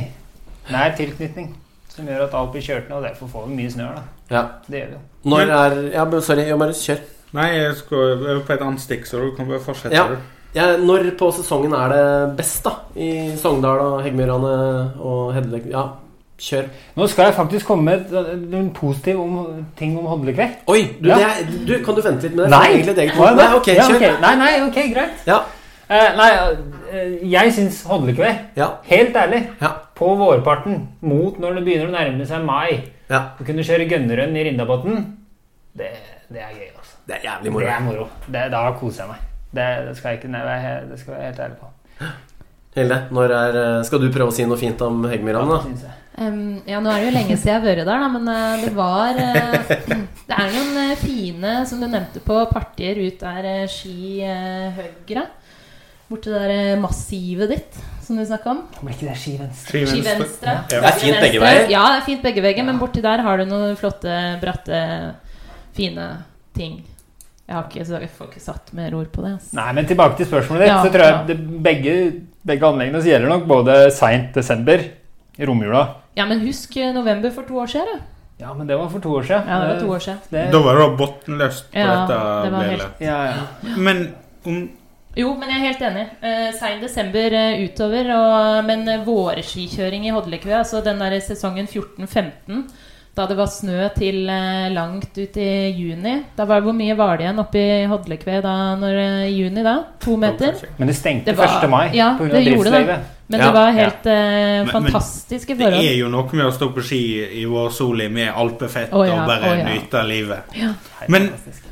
nær tilknytning. Som gjør at alt blir kjørt ned, og derfor får vi mye snø. da. Ja. Det gjør vi jo. Når er Ja, men sorry, jeg bare kjør. Nei, jeg skal jeg er på et annet stikk, så du kan bare fortsette. Ja. du. Ja, når på sesongen er det best, da? I Sogndal og Heggmyrane og Hedle... Ja, kjør. Nå skal jeg faktisk komme med et- en positiv om, ting om Hodlekveld. Oi! Du, Ja. det er, du kan du vente litt med det? Det er egentlig et eget punkt. Nei, ok, ja, kjør. ok. Nei, nei, ok, greit. Ja. Eh, nei, eh, jeg syns Hodlekveld, Ja. helt ærlig, Ja. på vårparten, mot når det begynner å nærme seg mai, ja. å kunne kjøre gønnerønn i Rindabotn, det, det er gøy, altså. Det er jævlig Det moro. er moro. Det, da koser jeg meg. Det, det skal jeg ikke nei, jeg- det skal jeg være helt ærlig på. Hilde, når er eh, Skal du prøve å si noe fint om Heggmyrane, da? Synes jeg. Em, ja, nå er det jo lenge siden jeg har vært der, da, men eh, det var eh, Det er noen eh, fine, som du nevnte, på partier ut der eh, ski eh, høyre. Borti det der eh, massivet ditt som du snakka om. Blir ikke det ski venstre? Ski Ski venstre. venstre. Det er fint begge Venstre. veier. Ja, det er fint begge veier, men borti der har du noen flotte, bratte, fine ting. Jeg har ikke, så jeg får ikke satt mer ord på det. ass. Nei, men tilbake til spørsmålet ditt. Ja, så tror jeg ja. det, begge, begge anleggene så gjelder nok både seint desember, i romjula Ja, men husk eh, november for to år siden, du. Ja, men det var for to år siden. Ja, det var to år siden. Det- Da var det da bunnløst på Ja, dette det var helt- bildet. ja, ja. Men om Jo, men jeg er helt enig. Eh, Sein desember eh, utover. Og, men eh, våreskikjøring i Hodlekve, altså den der sesongen 14-15, da det var snø til eh, langt ut i juni Da var Hvor mye var det igjen oppe i Hodlekve da, når, eh, i juni da? To meter? Men det stengte Det var- 1. mai ja, på grunn det av gjorde det. driftsstøyet. Men Ja. det var helt eh, men- fantastiske Det forhold. er jo noe med å stå på ski i vårsoli med alpefett Å ja, og bare å ja. nyte livet. Helt Men- fantastisk.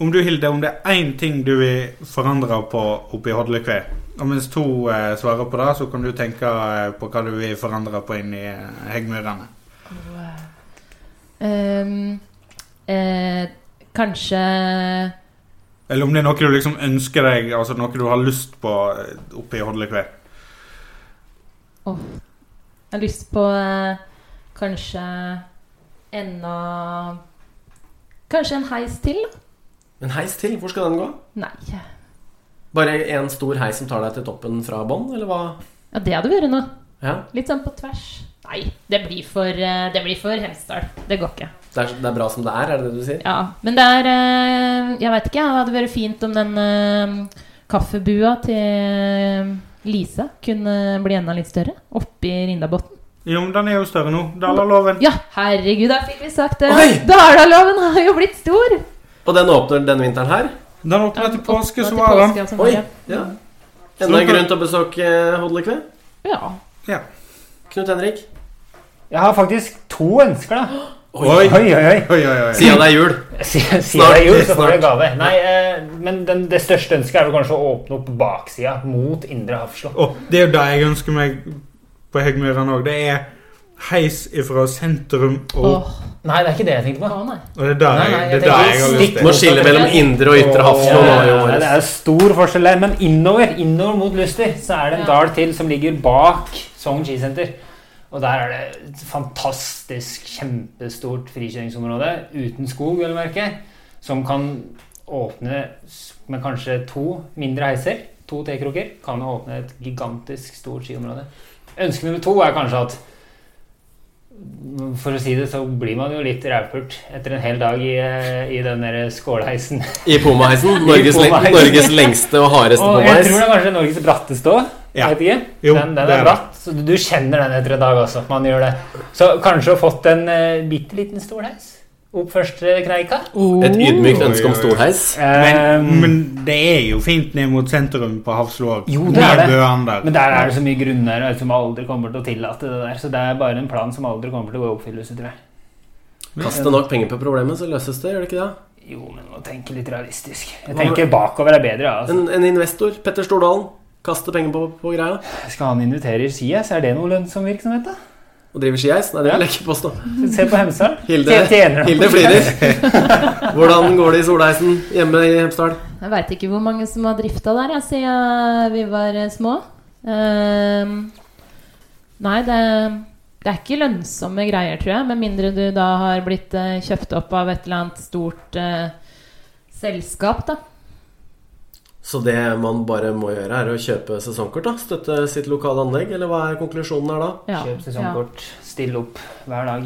Om du, Hilde, om det er én ting du vil forandre på oppe i Hodlekve Og mens to eh, svarer på det, så kan du tenke eh, på hva du vil forandre på inni eh, Heggmyrene. Ehm, eh, kanskje Eller om det er noe du liksom ønsker deg, altså noe du har lyst på eh, oppe i Hodlekve. Jeg har lyst på eh, kanskje enda Kanskje en heis til? da? En heis til, hvor skal den gå? Nei. Bare en stor heis som tar deg til toppen fra bånn, eller hva? Ja, det hadde vært noe. Ja, Litt sånn på tvers. Nei, det blir for, eh, det blir for Hemsedal. Det går ikke. det er, det er bra som det er, er det det du sier? Ja, Men det er eh, Jeg veit ikke. Det hadde vært fint om den eh, kaffebua til Lise kunne bli enda litt større. Oppi Rindabotn. Jo, men den er jo større nå. Dalalåven. Ja, herregud, der fikk vi sagt det. Oi! Dalalåven har jo blitt stor! Og den åpner denne vinteren her? Den åpner til påske, Åpnet så til var den. påske, altså, Oi! ja. Ja. Mm. Enda en grunn til å besøke eh, Hodlekve? Ja. Knut Henrik? Jeg har faktisk to ønsker, da. Oi, Oi, oi, oi. oi, oi. oi. Siden det er jul. Sier Snart, jeg jo, så får snart. jeg gave. Nei, eh, men den, det største ønsket er vel kanskje å åpne opp baksida mot Indre Hafslo. Å, det er jo det jeg ønsker meg på Heggmyrene òg. Det er heis ifra sentrum og opp. Åh, Nei, det er ikke det jeg tenkte å på. nei. Og det er der Nei, jeg, nei, det jeg er der tenker jeg har lyst stikk Du må til. skille mellom indre og ytre Hafslo nå i Åh, ja, det år. er stor forskjell der, men innover innover mot Luster så er det en Ja. dal til som ligger bak Sogn skisenter. Og der er det et fantastisk kjempestort frikjøringsområde uten skog, vel å merke, som kan åpne s- med kanskje to mindre heiser, to tekroker, kan åpne et gigantisk stort skiområde. Ønske nummer to er kanskje at For å si det, så blir man jo litt rævpult etter en hel dag i, eh, i den der skålheisen. I Pomaheisen. Norges, leng Pomaheisen. Norges lengste og hardeste Og jeg tror det Pomaheis. er kanskje Norges bratteste òg. Ja. Vet ikke. Jo, den, det den er er det. bratt, så du- du kjenner den etter en dag også. Man gjør det. Så kanskje å fått en uh, bitte liten stol heis opp første kneika. Et ydmykt Oi, ønske om oi, oi. storheis. Men, Ehm, men det er jo fint ned mot sentrum på Hafslo òg. Jo, det er det. Bøander. men der er det så mye grunner eh, som aldri kommer til å tillate det der. Så det er bare en plan som aldri kommer til å gå i oppfyllelse, tror jeg. Kaste nok penger på problemet, så løses det, gjør det ikke det? Jo, men må tenke litt realistisk. Jeg tenker bakover er bedre. ja, Altså. En, en investor, Petter Stordalen, kaster penger på, på greia. Skal han invitere i Skies? Er det noe lønnsom virksomhet, da? Og driver skiheis. Nei, det vil jeg ikke påstå. Se på Hemsedal. Hilde, Tjener han på Hilde skiheis? flirer. Hvordan går det i solheisen hjemme i Hemsedal? Jeg veit ikke hvor mange som har drifta der jeg, siden vi var eh, små. Ehm, nei, det, det er ikke lønnsomme greier, tror jeg. Med mindre du da har blitt eh, kjøpt opp av et eller annet stort eh, selskap, da. Så det man bare må gjøre, er å kjøpe sesongkort? da Støtte sitt lokale anlegg? Eller hva er konklusjonen her da? Ja, Kjøp sesongkort. Still opp hver dag.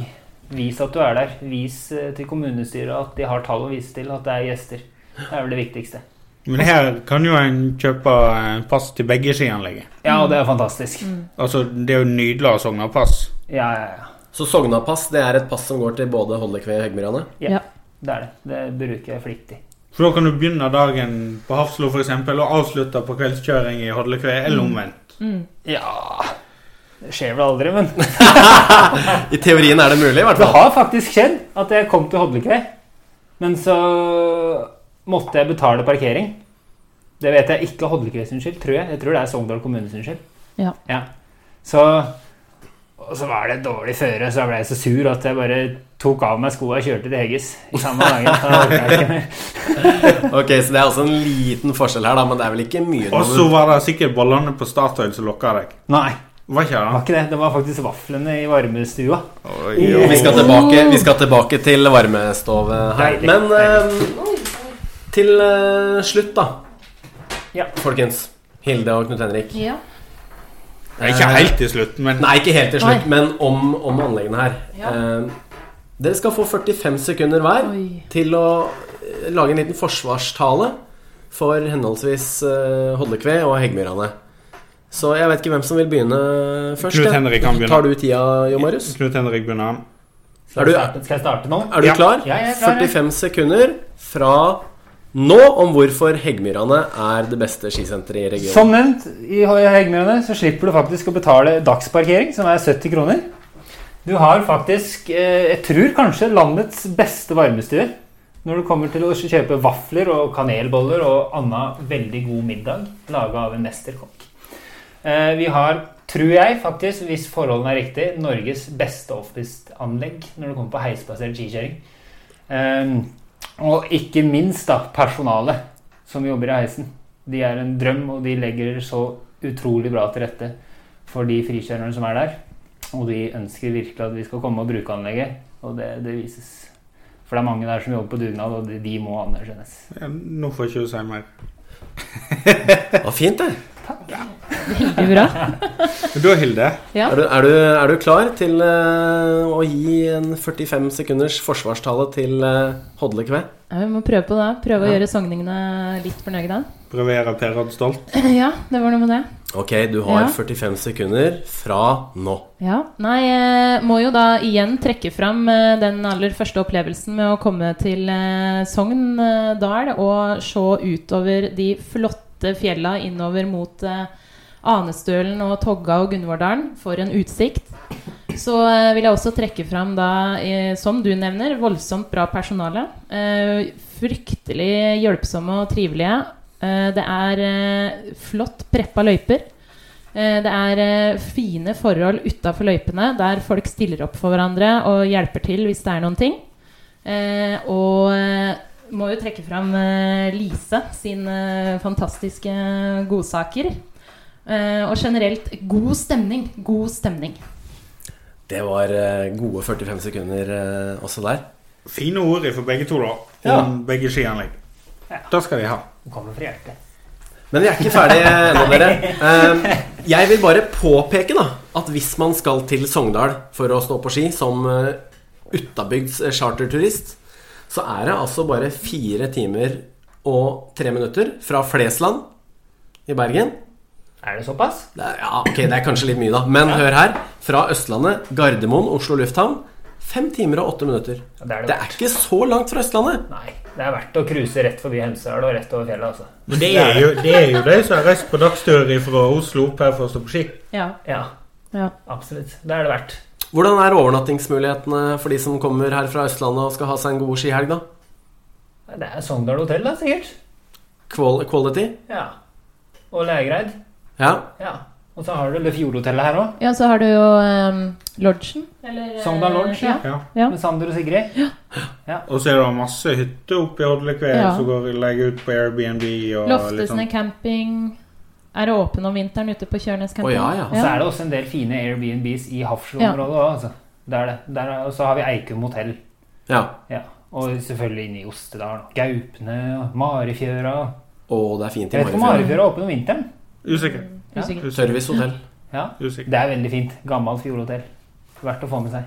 Vis at du er der. Vis eh, til kommunestyret at de har tall å vise til, at det er gjester. Det er vel det viktigste. Men her kan jo en kjøpe eh, pass til begge skianlegget. Ja, og det er fantastisk. Mm. Altså, det er jo nydelig å ha Sognapass. Ja, ja, ja. Så Sognapass det er et pass som går til både Hollekve og Heggmyrane? Det er det. Det bruker jeg flittig. For da kan du begynne dagen på Hafslo for eksempel, og avslutte på kveldskjøring i Hodlekve, eller omvendt. Ja. Mm. Ja Det skjer vel aldri, men I teorien er det mulig, i hvert det fall. har faktisk skjedd at jeg kom til Hodlekvei, men så måtte jeg betale parkering. Det vet jeg ikke Hodlekvei sin skyld, tror jeg. Jeg tror det er Sogndal kommune sin skyld. Ja. Så, og så var det dårlig føre, så da ble jeg så sur at jeg bare tok av meg skoa og kjørte til Hegges i samme dagen. Så orket jeg ikke mer. Ok, Så det er også en liten forskjell her, da, men det er vel ikke mye Og så var det sikkert bollene på Statoil som lokka deg. Nei, Var ikke det var det? ikke det. Det var faktisk vaflene i varmestua. Oi, vi skal, tilbake, vi skal tilbake til varmestove her. Deilig. Men eh, til eh, slutt, da. Ja. Folkens. Hilde og Knut Henrik. Eh, ja. Det er Ikke helt til slutt, men Nei, ikke helt til slutt, men om, om anleggene her. Ja. Eh, dere skal få 45 sekunder hver Oi. til å eh, lage en liten forsvarstale for henholdsvis eh, Hodlekve og Heggmyrane. Så jeg vet ikke hvem som vil begynne først. Knut jeg. Henrik kan begynne. Tar du tida, Jo Marius? Knut Henrik begynner. Er Skal du- jeg starte, skal jeg starte nå? Er du Ja. klar? Ja, jeg er klar, ja. 45 sekunder fra nå om hvorfor Heggmyrane er det beste skisenteret i regionen. Som nevnt, i Heggmyrene så slipper du faktisk å betale dagsparkering, som er 70 kroner. Du har faktisk, eh, jeg tror kanskje, landets beste varmestuer. Når du kommer til å kjøpe vafler og kanelboller og annen veldig god middag laga av en mesterkokk. Eh, Vi har, tror jeg faktisk, hvis forholdene er riktig, Norges beste offpiste-anlegg når det kommer på heisbasert skikjøring. Eh, Og ikke minst da personalet som jobber i heisen. De er en drøm, og de legger så utrolig bra til rette for de frikjørerne som er der. Og de ønsker virkelig at vi skal komme og bruke anlegget, og det, det vises. For det er mange der som jobber på dugnad, og de, de må anerkjennes. Ja, Nå får ikke du si mer. Det var fint, det. Veldig bra. Da, Hilde, Ja. Er du, er, du, er du klar til eh, å gi en 45 sekunders forsvarstale til uh, Hodlekve? Ja, vi må prøve på det. Prøve å Ja. gjøre sogningene litt fornøyde. breverer Per Odd Stolt. Ja, det var noe med det. Ok, du har Ja. 45 sekunder fra nå. Ja. Nei, eh, må jo da igjen trekke fram eh, den aller første opplevelsen med å komme til eh, Sogn eh, dal og se utover de flotte fjella innover mot eh, Anestølen og Togga og Gunvordalen. For en utsikt. Så eh, vil jeg også trekke fram, da, eh, som du nevner, voldsomt bra personale. Eh, fryktelig hjelpsomme og trivelige. Eh, det er eh, flott preppa løyper. Eh, Det er eh, fine forhold utafor løypene, der folk stiller opp for hverandre og hjelper til hvis det er noen ting. Eh, Og eh, må jo trekke fram eh, Lise sine fantastiske godsaker. Eh, Og generelt god stemning. God stemning. Det var eh, gode 45 sekunder eh, også der. Fine ord for begge to, da. Ja. Om begge skianlegg. Ja. Det skal de ha. Hun kommer fra hjertet. Men vi er ikke ferdige ennå, dere. Eh, jeg vil bare påpeke da, at hvis man skal til Sogndal for å stå på ski som uh, utabygds eh, charterturist, så er det altså bare fire timer og tre minutter fra Flesland i Bergen Er det såpass? Det er, ja, ok, det er kanskje litt mye, da. Men hør her. Fra Østlandet, Gardermoen, Oslo lufthavn. Fem timer og åtte minutter. Ja, det er det. Det er ikke så langt fra Østlandet. Nei. Det er verdt å cruise rett forbi Hemsedal og rett over fjellet, altså. Men det er jo, det er jo de som har reist på dagstur fra Oslo opp her for å stå på ski. Ja. Ja, ja. absolutt. Det er det verdt. Hvordan er overnattingsmulighetene for de som kommer her fra Østlandet og skal ha seg en god skihelg, da? Det er Sogndal hotell, da, sikkert. Qual quality? Ja. Og Lægreid. Ja. Ja. Og så har du det Fjordhotellet her òg. Ja, så har du jo ehm, lodgen. Eller, eh, Sogndal Lodge, ja. Ja. Ja. Ja. Med Sander og Sigrid. Og så er det masse hytter oppe i Hodlekve Ja. som går legger ut på Airbnb og litt Loftesene sånn. camping. Er det åpen om vinteren ute på Kjørnes Å camping? ja, ja. Og så er det også en del fine Airbnbs i Hafslo-området òg. Altså. Det er det. Der er- Og så har vi Eikum hotell. ja. Ja. Og selvfølgelig inne i Ostedal. Gaupne og Marifjøra. Å, det er fint Jeg i vet ikke om Marifjøra. Marifjøra er åpen om vinteren. Usikker. Ja. Usikker. Usikker. Service hotell. Ja. Usikker. Det er veldig fint. Gammelt fjordhotell. Verdt å få med seg.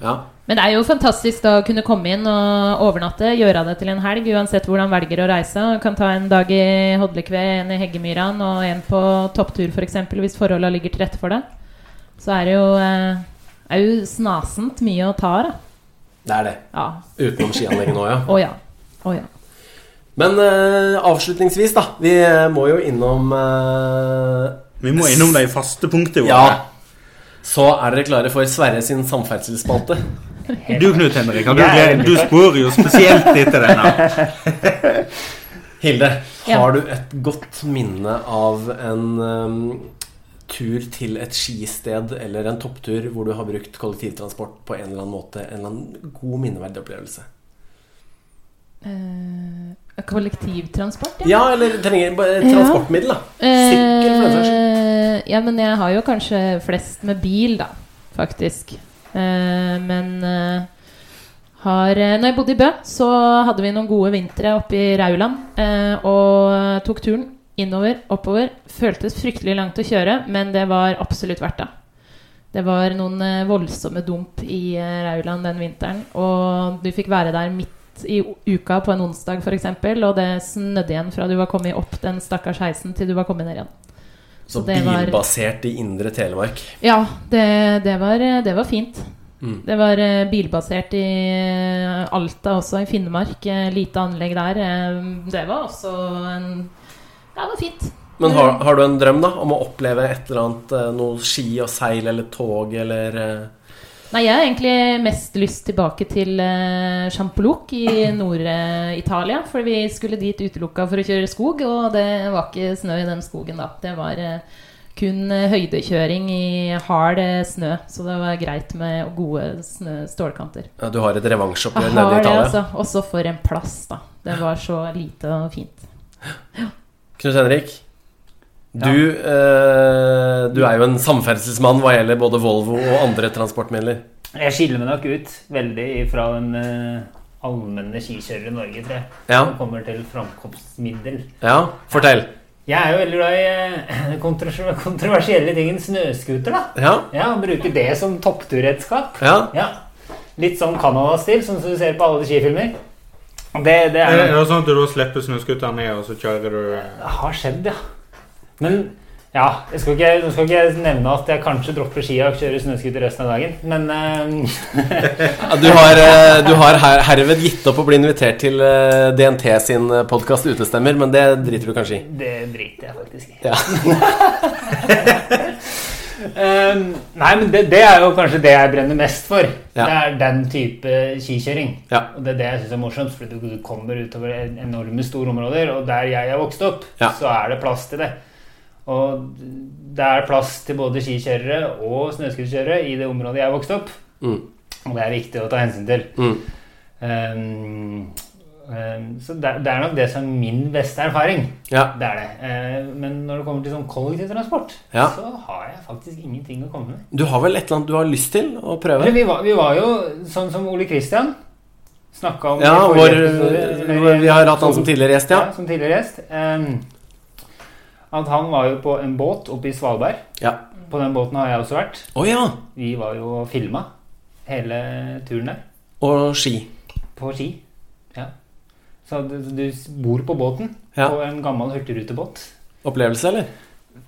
Ja. Men det er jo fantastisk da å kunne komme inn og overnatte, gjøre det til en helg, uansett hvor han velger å reise. Han Kan ta en dag i Hodlekve, en i Heggemyran og en på topptur f.eks., hvis forholdene ligger til rette for det. Så er det jo, eh, er jo snasent mye å ta av, da. Det er det. Ja. Utenom skianlegget nå, ja. Å ja. Å ja. Men eh, avslutningsvis, da. Vi eh, må jo innom eh, Vi må innom de faste punktene våre. Ja. Så er dere klare for Sverre sin samferdselsspalte. Du, Knut Henrik, har du, Jeg er veldig du spør jo spesielt etter denne. Hilde, Ja. har du et godt minne av en ehm, tur til et skisted eller en topptur hvor du har brukt kollektivtransport på en eller annen måte? En eller annen god minneverdig opplevelse? Eh, kollektivtransport, Ja, eller trenger bare et Ja. transportmiddel, da. Sykkel, for den saks skyld. Eh, ja, men jeg har jo kanskje flest med bil, da, faktisk. Eh, men eh, har eh, Når jeg bodde i Bø, så hadde vi noen gode vintre oppe i Rauland. eh, og tok turen innover, oppover. Føltes fryktelig langt å kjøre, men det var absolutt verdt det. Det var noen eh, voldsomme dump i eh, Rauland den vinteren, og du fikk være der midt midt i u- uka på en onsdag f.eks., og det snødde igjen fra du var kommet opp den stakkars heisen til du var kommet ned igjen. Så Så det var- bilbasert i indre Telemark. Ja, det, det, var, det var fint. Mm. Det var eh, bilbasert i eh, Alta også, i Finnmark. Eh, Lite anlegg der. Eh, Det var også en Ja, det var fint. Men har, har du en drøm da om å oppleve et eller annet eh, noe ski og seil eller tog eller eh, Nei, jeg har egentlig mest lyst tilbake til eh, Champolloc i Nord-Italia. For vi skulle dit utelukka for å kjøre skog, og det var ikke snø i den skogen da. Det var eh, kun eh, høydekjøring i hard eh, snø, så det var greit med gode snø stålkanter. ja, Du har et revansjeoppgjør Jeg nede i har det, Italia? altså. Også for en plass, da. Det var så lite og fint. Knut Henrik, du, eh, du er jo en samferdselsmann hva gjelder både Volvo og andre transportmidler. Jeg skiller meg nok ut veldig fra den eh, allmenne skikjører i Norge, tror jeg. Ja, Som kommer til framkomstmiddel. ja, fortell. Jeg er jo veldig glad i eh, kontro- kontroversielle ting. En snøscooter, da. Ja, Ja, Bruker det som toppturredskap. ja. Ja. Litt sånn Canada-stil, som du ser på alle skifilmer. Det, det Er er det er det sånn at du da slipper snøscooteren ned, og så kjører du eh, Det har skjedd, ja. Men ja, jeg skal ikke, nå skal ikke jeg nevne at jeg kanskje dropper skia og kjører snøscooter resten av dagen, men eh, Ja, Du har, eh, du har her, herved gitt opp å bli invitert til eh, DNT sin podkast Utestemmer, men det driter du kanskje i. det driter jeg faktisk i. Ja. Eh, nei, men det, det er jo kanskje det jeg brenner mest for. Ja. Det er den type skikjøring. Ja. Og det er det jeg syns er morsomt, for du du kommer utover en- enorme store områder, og der jeg er vokst opp, Ja. så er det plass til det. Og det er plass til både skikjørere og snøscooterkjørere i det området jeg er vokst opp. Mm, Og det er viktig å ta hensyn til. mm. Ehm, ehm, så det, det er nok det som er min beste erfaring. Ja. Det er det. Ehm, men når det kommer til sånn kollektivtransport, Ja. så har jeg faktisk ingenting å komme med. Du har vel et eller annet du har lyst til å prøve? Men vi, var, vi var jo sånn som Ole Kristian snakka om Ja, i vår, forrige episode, eh, eller- vi har hatt han som tidligere gjest, ja. ja, som tidligere gjest. ehm, at han var jo på en båt oppe i Svalbard. Ja. På den båten har jeg også vært. Å ja! Vi var jo og filma hele turen der. Og ski. På ski. Ja. Så du, du s- bor på båten, Ja. på en gammel hurtigrutebåt. Opplevelse, eller?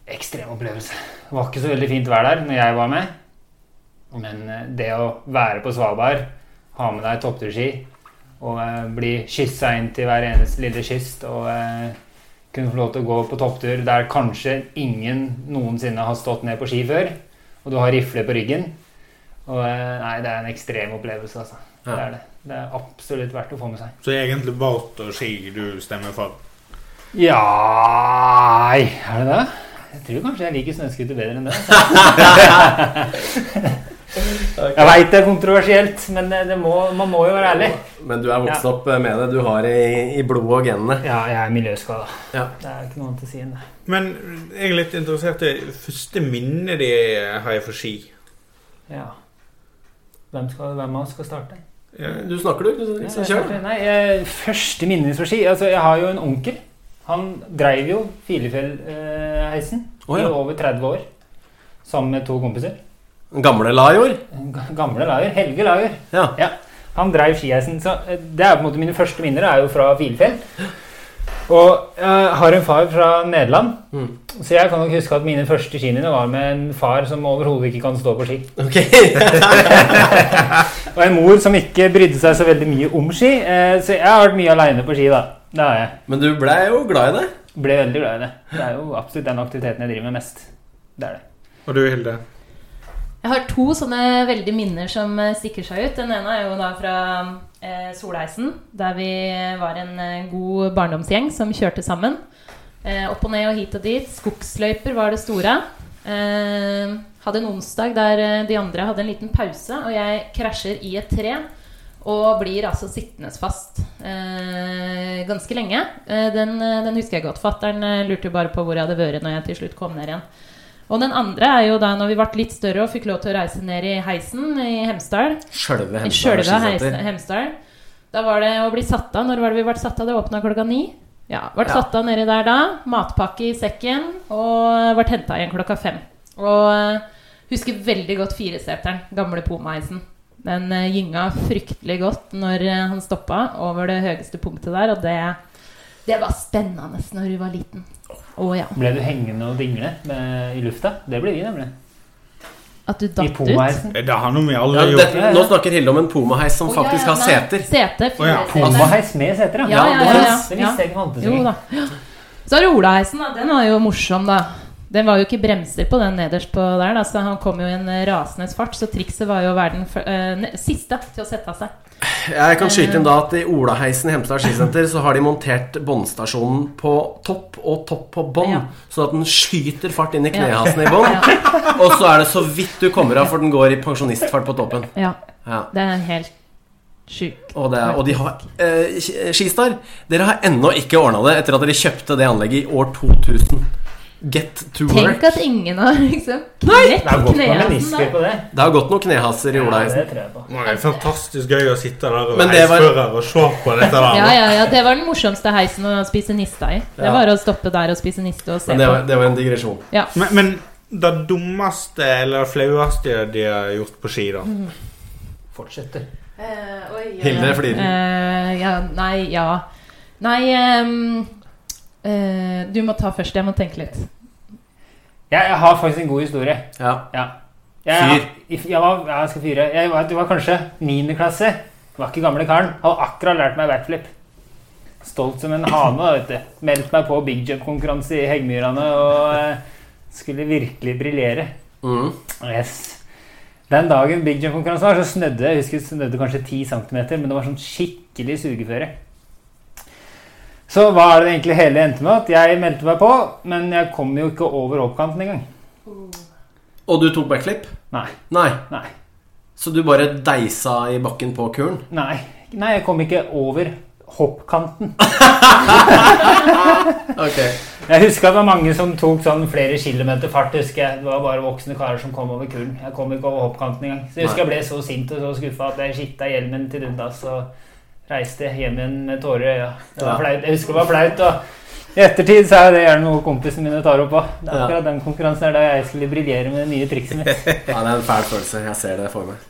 Ekstrem opplevelse. Det var ikke så veldig fint vær der når jeg var med. Men eh, det å være på Svalbard, ha med deg toppturski og eh, bli kyssa inn til hver eneste lille kyst og eh, kunne få lov til å gå på topptur der kanskje ingen noensinne har stått ned på ski før, og du har rifle på ryggen og, eh, Nei, det er en ekstrem opplevelse, altså. Ja. Det er det. Det er absolutt verdt å få med seg. Så egentlig båt og ski du stemmer for? Ja nei, Er det det? Jeg tror kanskje jeg liker snøscooter bedre enn det. Jeg veit det er kontroversielt, men det det må, man må jo være ærlig. Men du er vokst opp eh, med det. Du har det i, i blodet og genene. Ja, jeg er miljøskada. Ja. Det er ikke noe annet å si enn det. Men jeg er litt interessert i første minnet de har jeg for ski. Ja. Hvem, skal, hvem av oss skal starte? Eh, Du snakker, du. du- Nei, du- Kjør. Nei, jeg, første minnet fra ski altså, Jeg har jo en onkel. Han dreiv jo Filefjellheisen Å, ja. i over 30 år sammen med to kompiser. Gamle Lajor. Gamle Lager. Helge Lager. Ja. Han dreiv skiheisen. Så eh, det er på en måte mine første minner er jo fra Filefjell. Og jeg har en far fra Nederland, Mm. så jeg kan nok huske at mine første skiminner var med en far som overhodet ikke kan stå på ski. Ok. Og en mor som ikke brydde seg så veldig mye om ski. eh, Så jeg har vært mye aleine på ski, da. Det har jeg. Men du blei jo glad i det. Ble veldig glad i det. Det er jo absolutt den aktiviteten jeg driver med mest. Det er det. Og du, Hilde? Jeg har to sånne veldig minner som eh, stikker seg ut. Den ene er jo da fra eh, Solheisen, der vi var en eh, god barndomsgjeng som kjørte sammen. Eh, opp og ned og hit og dit. Skogsløyper var det store. Eh, hadde en onsdag der eh, de andre hadde en liten pause, og jeg krasjer i et tre. Og blir altså sittende fast eh, ganske lenge. Eh, den, eh, den husker jeg godt. Fattern eh, lurte jo bare på hvor jeg hadde vært når jeg til slutt kom ned igjen. Og den andre er jo da når vi ble litt større og fikk lov til å reise ned i heisen i Hemsedal. Sjølve I sjølve heisen- Hemsedal. Da var det å bli satt av. Når var det vi ble satt av? Det åpna klokka ni. Ja, ble Ja. satt av nedi der da. Matpakke i sekken. Og ble eh, henta igjen klokka fem. Og eh, husker veldig godt fireseteren. Gamle Poma-heisen. Den eh, gynga fryktelig godt når eh, han stoppa over det høyeste punktet der, og det, det var spennende når du var liten. Å ja. Ble du hengende og dingle med, i lufta? Det ble vi, nemlig. At du I datt ut. pomaheisen. Eh, Det har noe vi alle Ja, har gjort. dette, nå snakker Hilde om en pomaheis som Å, ja, faktisk ja, har nei. seter. Sete, Å, ja. fire seter. Pomaheis med seter, Altså- Ja, ja, ja, ja. Det visste jeg ikke fantes. Jo ikke. da. Så er det olaheisen, da. Den var jo morsom, da. Den var jo ikke bremser på den nederst på der, da, så han kom jo i en eh, rasende fart. Så trikset var jo å være den fø- eh, ne- siste til å sette av seg. Jeg kan skyte inn da Eh. at i Olaheisen i Hemsedal skisenter så har de montert båndstasjonen på topp og topp på bånd, Ja. sånn at den skyter fart inn i Ja. knehasen i bånd. Og så er det så vidt du kommer av, for den går i pensjonistfart på toppen. Ja, Ja. det er helt sjukt. Og, det, og de har eh, Skistar, dere har ennå ikke ordna det etter at dere kjøpte det anlegget i år 2000. Get to Tenk work. at ingen har liksom knekt Det er godt med knehasen menisker der. på det. Det har gått noen knehaser i Ja, Olaheisen. det tror jeg på. Det er fantastisk gøy å sitte der og Men det var- reisfører og se på dette der. Ja, ja, ja, Det var den morsomste heisen å spise nista i. Det Ja. var å stoppe der og spise niste og se Men det på. var, det var en digresjon. Ja. Men, men det dummeste eller det flaueste de har gjort på ski, da? Mm. Fortsetter. Hilde flirer. Eh, ja, nei, ja. Nei ehm, eh, Du må ta først. Jeg må tenke litt. Jeg, jeg har faktisk en god historie. Ja. Ja. Jeg, Fyr. Jeg, var, ja, jeg skal fyre. Jeg var, det var kanskje 9. klasse. Jeg var ikke gamle karen. Hadde akkurat lært meg backflip. Stolt som en hane. da, vet du. Meldt meg på big jump-konkurranse i Heggemyrane og eh, skulle virkelig briljere. Mm. Yes. Den dagen big jump-konkurransen var, så snødde det. jeg husker det snødde kanskje 10 cm, men det var sånn skikkelig sugeføre. Så hva er det egentlig hele endte med? At jeg meldte meg på, men jeg kom jo ikke over hoppkanten engang. Og du tok backflip? Nei. Nei. Nei. Så du bare deisa i bakken på kuren? Nei, nei, jeg kom ikke over hoppkanten. Ok. Jeg husker at det var mange som tok sånn flere kilometer fart. husker jeg. Det var bare voksne karer som kom over kulen. Jeg kom ikke over hoppkanten engang. Så jeg husker jeg ble så sint og så skuffa at jeg skitta hjelmen til dundas og reiste hjem igjen med tårer i øya. Det Ja. var flaut. Jeg husker det var flaut. og i ettertid så er det gjerne noe kompisene mine tar opp på. Det er Ja. akkurat den konkurransen er da jeg skulle briljere med det nye trikset mitt. Ja, det er en fæl følelse. Jeg ser det for meg.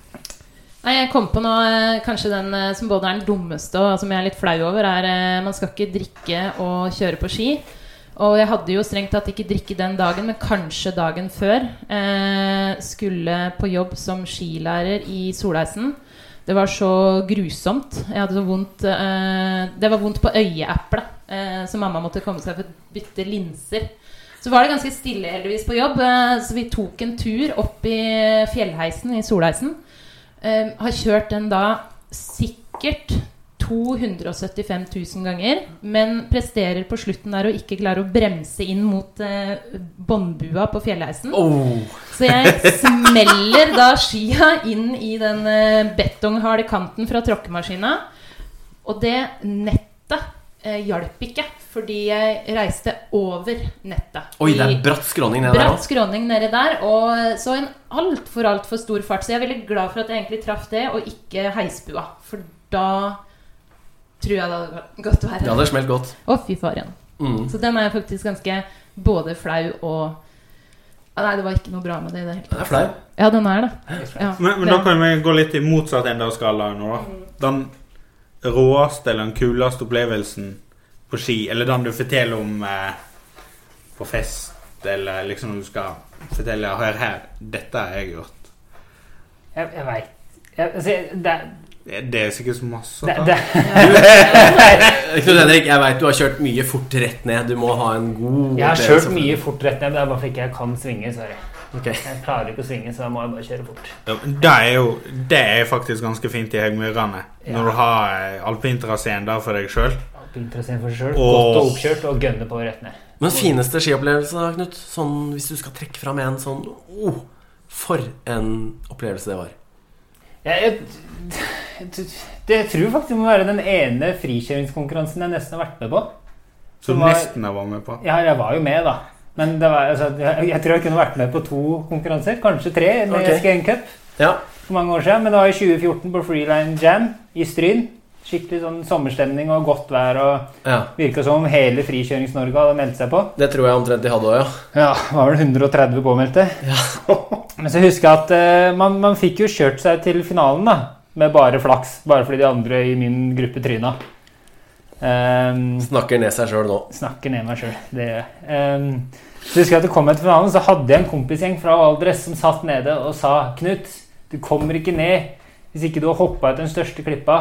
Nei, Jeg kom på nå eh, kanskje den eh, som både er den dummeste og som jeg er litt flau over, er eh, man skal ikke drikke og kjøre på ski. Og jeg hadde jo strengt tatt ikke drikke den dagen, men kanskje dagen før. Eh, skulle på jobb som skilærer i Solheisen. Det var så grusomt. Jeg hadde så vondt eh, Det var vondt på øyeeplet, eh, så mamma måtte komme seg for å bytte linser. Så var det ganske stille heldigvis på jobb, eh, så vi tok en tur opp i fjellheisen i Solheisen. Eh, har kjørt den da sikkert 275 000 ganger, men presterer på slutten der å ikke klare å bremse inn mot eh, båndbua på Mm. fjellheisen. Oh. Så jeg smeller da skia inn i den eh, betongharde kanten fra tråkkemaskina. Og det nettet eh, hjalp ikke, fordi jeg reiste over nettet. Oi, det I- er bratt skråning ned der Bratt òg. skråning nedi der, og så en altfor, altfor stor fart. Så jeg er veldig glad for at jeg egentlig traff det, og ikke heisbua. For da tror jeg det hadde gått Det verre. hadde smelt godt. Å, fy faren. Mm. Så den er jeg faktisk ganske både flau og ja, Nei, det var ikke noe bra med det i det hele Det er flau. tatt. Ja, den er det. Ja, Men, men da det. kan vi gå litt i motsatt ende av skalaen nå, da. Den råeste eller den kuleste opplevelsen på ski, eller den du forteller om eh, på fest, eller liksom du skal fortelle Hør her, dette har jeg gjort. Jeg, jeg veit jeg, altså, jeg- det, Det det er sikkert så masse. det, Sånn. da. det, Eh, Knut Henrik, jeg veit du har kjørt mye fort rett ned. Du må ha en god Jeg har opplevelse kjørt for- mye fort rett ned, men det er bare fordi jeg ikke kan svinge. Sorry. Ok. Jeg klarer ikke å svinge, så da må jeg bare kjøre fort. Ja, men Det er jo det er faktisk ganske fint i Høgmyrene. Ja. Når du har eh, alpintrasseen der for deg sjøl. Alpintraseen for seg selv, Åh. Godt og oppkjørt og gønne på rett ned. Men fineste skiopplevelse, da, Knut? Sånn, hvis du skal trekke fram en sånn oh, For en opplevelse det var. Jeg, jeg, jeg, jeg tror faktisk det må være den ene frikjøringskonkurransen jeg nesten har vært med på. Som Som var- nesten jeg var med på. Ja, jeg var jo med, da. Men det var, altså, jeg, jeg tror jeg kunne vært med på to konkurranser. Kanskje tre. Når Ok. jeg skrev en cup Ja. for mange år siden. Men det var i 2014 på Freeline Jam i Stryn. Skikkelig sånn sommerstemning og godt vær. og Ja, Virka som om hele Frikjørings-Norge hadde meldt seg på. Det tror jeg omtrent de hadde òg, ja. Ja, det var vel 130 påmeldte. Men så husker jeg at eh, man, man fikk jo kjørt seg til finalen da, med bare flaks. Bare fordi de andre i min gruppe tryna. Ehm, Snakker ned seg sjøl nå. snakker ned meg sjøl, det gjør jeg. Ehm, så husker jeg at det kom etter finalen, så hadde jeg en kompisgjeng fra Valdres som satt nede og sa Knut, du kommer ikke ned hvis ikke du har hoppa ut den største klippa,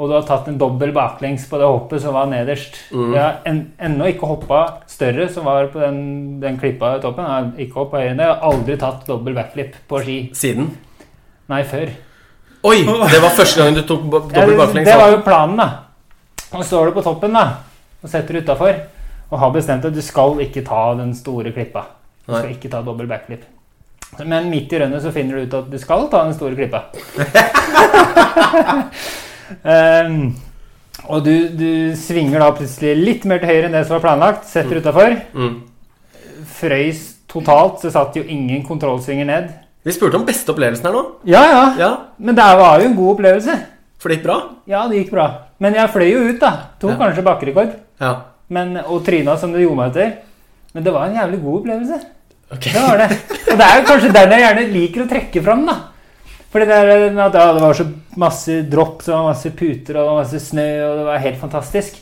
og du har tatt en dobbel baklengs på det hoppet som var nederst. Mm. Jeg har en, ennå ikke hoppa større som var på den, den klippa i toppen. Jeg har ikke hoppa høyere enn det. Jeg har aldri tatt dobbel backflip på ski. Siden. Nei, før. Oi! Det var første gangen du tok bo- dobbel Ja, baklengs. Det da. var jo planen, da. Og så står du på toppen da, og setter utafor og har bestemt at du skal ikke ta den store klippa. Du skal Nei. ikke ta dobbel backflip. Men midt i rønnet så finner du ut at du skal ta den store klippa. Ehm, og du, du svinger da plutselig litt mer til høyre enn det som var planlagt, setter utafor. Mm. Frøys totalt, så satt jo ingen kontrollsvinger ned. Vi spurte om beste opplevelsen her nå. Ja, ja, Ja, men det var jo en god opplevelse. for det gikk bra. Ja, det gikk bra. Men jeg fløy jo ut, da. Tok Ja. kanskje bakkerekord. Ja, Men, og tryna som det gjorde meg etter. Men det var en jævlig god opplevelse. ok. Det var det. Og det er jo kanskje den jeg gjerne liker å trekke fram, da. For det der med at ja, det var så masse drops og masse puter og det var masse snø, og det var helt fantastisk.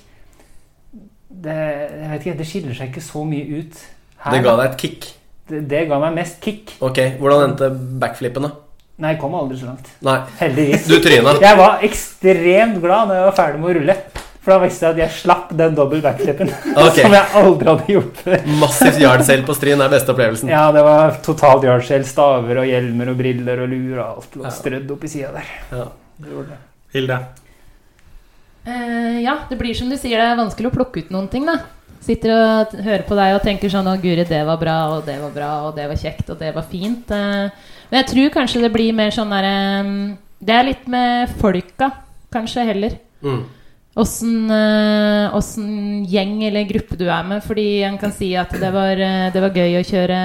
Det, jeg vet ikke, det skiller seg ikke så mye ut her. Det ga da. deg et kick. det, det ga meg mest kick. Ok, Hvordan endte backflippen, da? Nei, jeg kom aldri så langt. Nei, Heldigvis. du tryna. Jeg var ekstremt glad når jeg var ferdig med å rulle. For da visste jeg at jeg slapp den dobbel backflippen. Ok. Som jeg aldri hadde gjort før. Massivt yard sale på strin er beste opplevelsen. Ja, det var totalt jardskjell. Staver og hjelmer og briller og luer og alt lå Ja. strødd opp i sida der. Ja. Det gjorde det. Hilde. Eh, ja, det blir som du sier, det er vanskelig å plukke ut noen ting, da. Sitter og t- hører på deg og tenker sånn Å, guri, det var bra, og det var bra, og det var kjekt, og det var fint. Eh, men jeg tror kanskje det blir mer sånn derre Det er litt med folka, kanskje, heller. Mm. Åssen eh, åssen gjeng eller gruppe du er med. Fordi en kan si at det var, eh, det var gøy å kjøre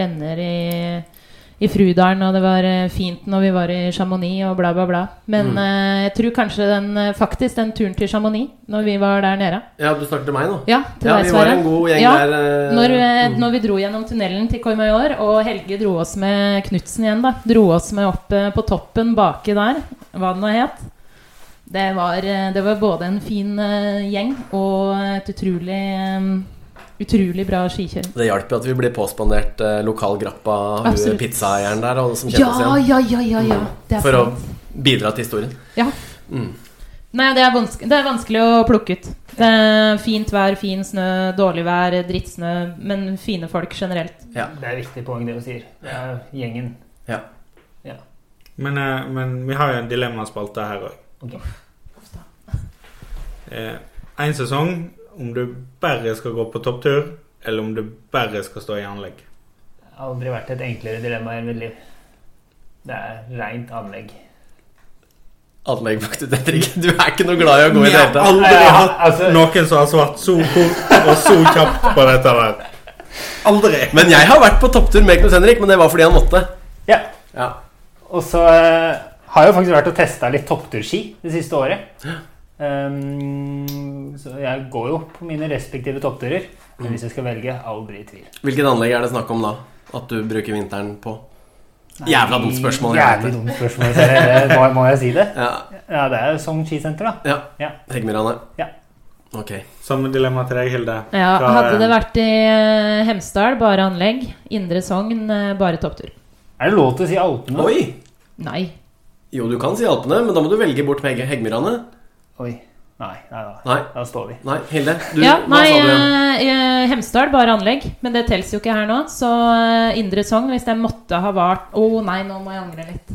renner i, i Frudalen, og det var eh, fint når vi var i Chamonix, og bla, bla, bla. Men Mm. eh, jeg tror kanskje den, eh, faktisk den turen til Chamonix, når vi var der nede Ja, du snakker til meg nå. Ja, til Ja, deg, vi var Sverre. en god gjeng Ja, der. eh, Når, eh, mm. når vi dro gjennom tunnelen til Koimajor, og Helge dro oss med Knutsen igjen, da. Dro oss med opp eh, på toppen baki der, hva det nå het. Det var, eh, det var både en fin eh, gjeng og et utrolig eh, Utrolig bra skikjøring. Det hjalp jo at vi ble påspandert eh, lokalgrappa hun Absolutt. pizzaeieren der, og som kjente Ja, oss igjen. ja, ja, ja, ja. Det er For å sant. bidra til historien. Ja. Mm. Nei, det er, vanske, det er vanskelig å plukke ut. Det er fint vær, fin snø, dårlig vær, drittsnø, men fine folk generelt. Ja. Det er et viktig poeng, det du sier. Det er gjengen. Men, eh, men vi har jo en dilemmaspalte her òg. Ok. Eh, en sesong om du bare skal gå på topptur, eller om du bare skal stå i anlegg. Det har aldri vært et enklere dilemma i mitt liv. Det er reint anlegg. Anlegg på aktiviteter ikke Du er ikke noe glad i å gå i Vi det har hele tatt. aldri Ja, hatt altså- noen som har svart så fort og så kjapt på dette der. Aldri. Men jeg har vært på topptur med Knut Henrik, men det var fordi han måtte. Ja. Ja. Og så eh, har jeg jo faktisk vært og testa litt toppturski det siste året. Ehm, så jeg går jo på mine respektive toppturer. Men hvis jeg skal velge, aldri i tvil. Hvilket anlegg er det snakk om da? At du bruker vinteren på? Jævla dumt spørsmål, jeg vet Jævlig det. dumt spørsmål. så det- det- Må, må jeg si det? Ja. Ja, det er Sogn skisenter, da. ja. Ja. Heggmyrane. Ja. Ok. Samme dilemma til deg, Hilde. Ja, Hva- hadde det vært i eh, Hemsedal, bare anlegg. Indre Sogn, eh, bare topptur. Er det lov til å si Alpene? Oi! Nei. Jo, du kan si Alpene, men da må du velge bort Hegg- Heggmyrane. Oi. Nei, nei, da. Nei. Da står vi. Nei, Hilde. Du, ja, hva nei, sa du igjen? eh, eh, Hemsedal, bare anlegg. Men det telles jo ikke her nå. Så eh, Indre Sogn, hvis jeg måtte ha vært Å nei, nå må jeg angre litt.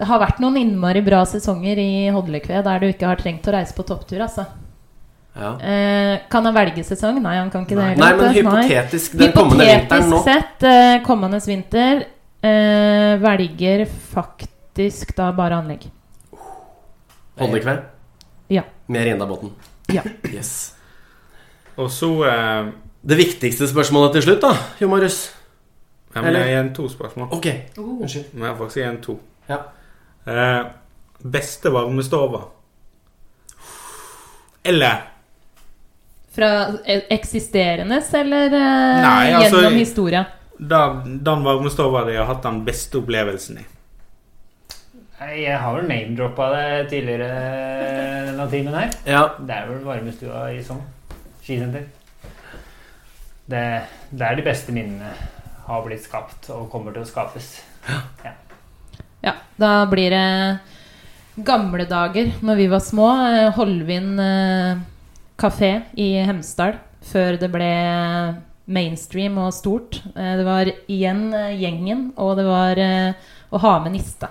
Det har vært noen innmari bra sesonger i Hodlekve der du ikke har trengt å reise på topptur, altså. Ja. Eh, kan han velge sesong? Nei, han kan ikke det. Nei, heller, men vet du. Nei. hypotetisk den kommende vinteren nå. Hypotetisk sett, eh, kommende vinter eh, velger faktisk da bare anlegg. Holdekveld? Ja. Med Rindabotn? Ja. Yes. Og så eh, Det viktigste spørsmålet til slutt, da, Jo Marius. ja, men Eller- Jeg har igjen to spørsmål. Ok, unnskyld. Vi har faktisk igjen to. Ja. Eh, beste varmestova. Eller Fra e- eksisterende eller eh, Nei, altså- gjennom historia? da, den varmestova de har hatt den beste opplevelsen i. Nei, Jeg har vel name-droppa det tidligere denne timen her. Ja. Det er vel varmestua i Sogn skisenter. Det, det er de beste minnene har blitt skapt og kommer til å skapes. Ja, da blir det gamle dager når vi var små. eh, Holvin eh, kafé i Hemsedal før det ble mainstream og stort. Eh, Det var igjen eh, gjengen, og det var eh, å ha med niste.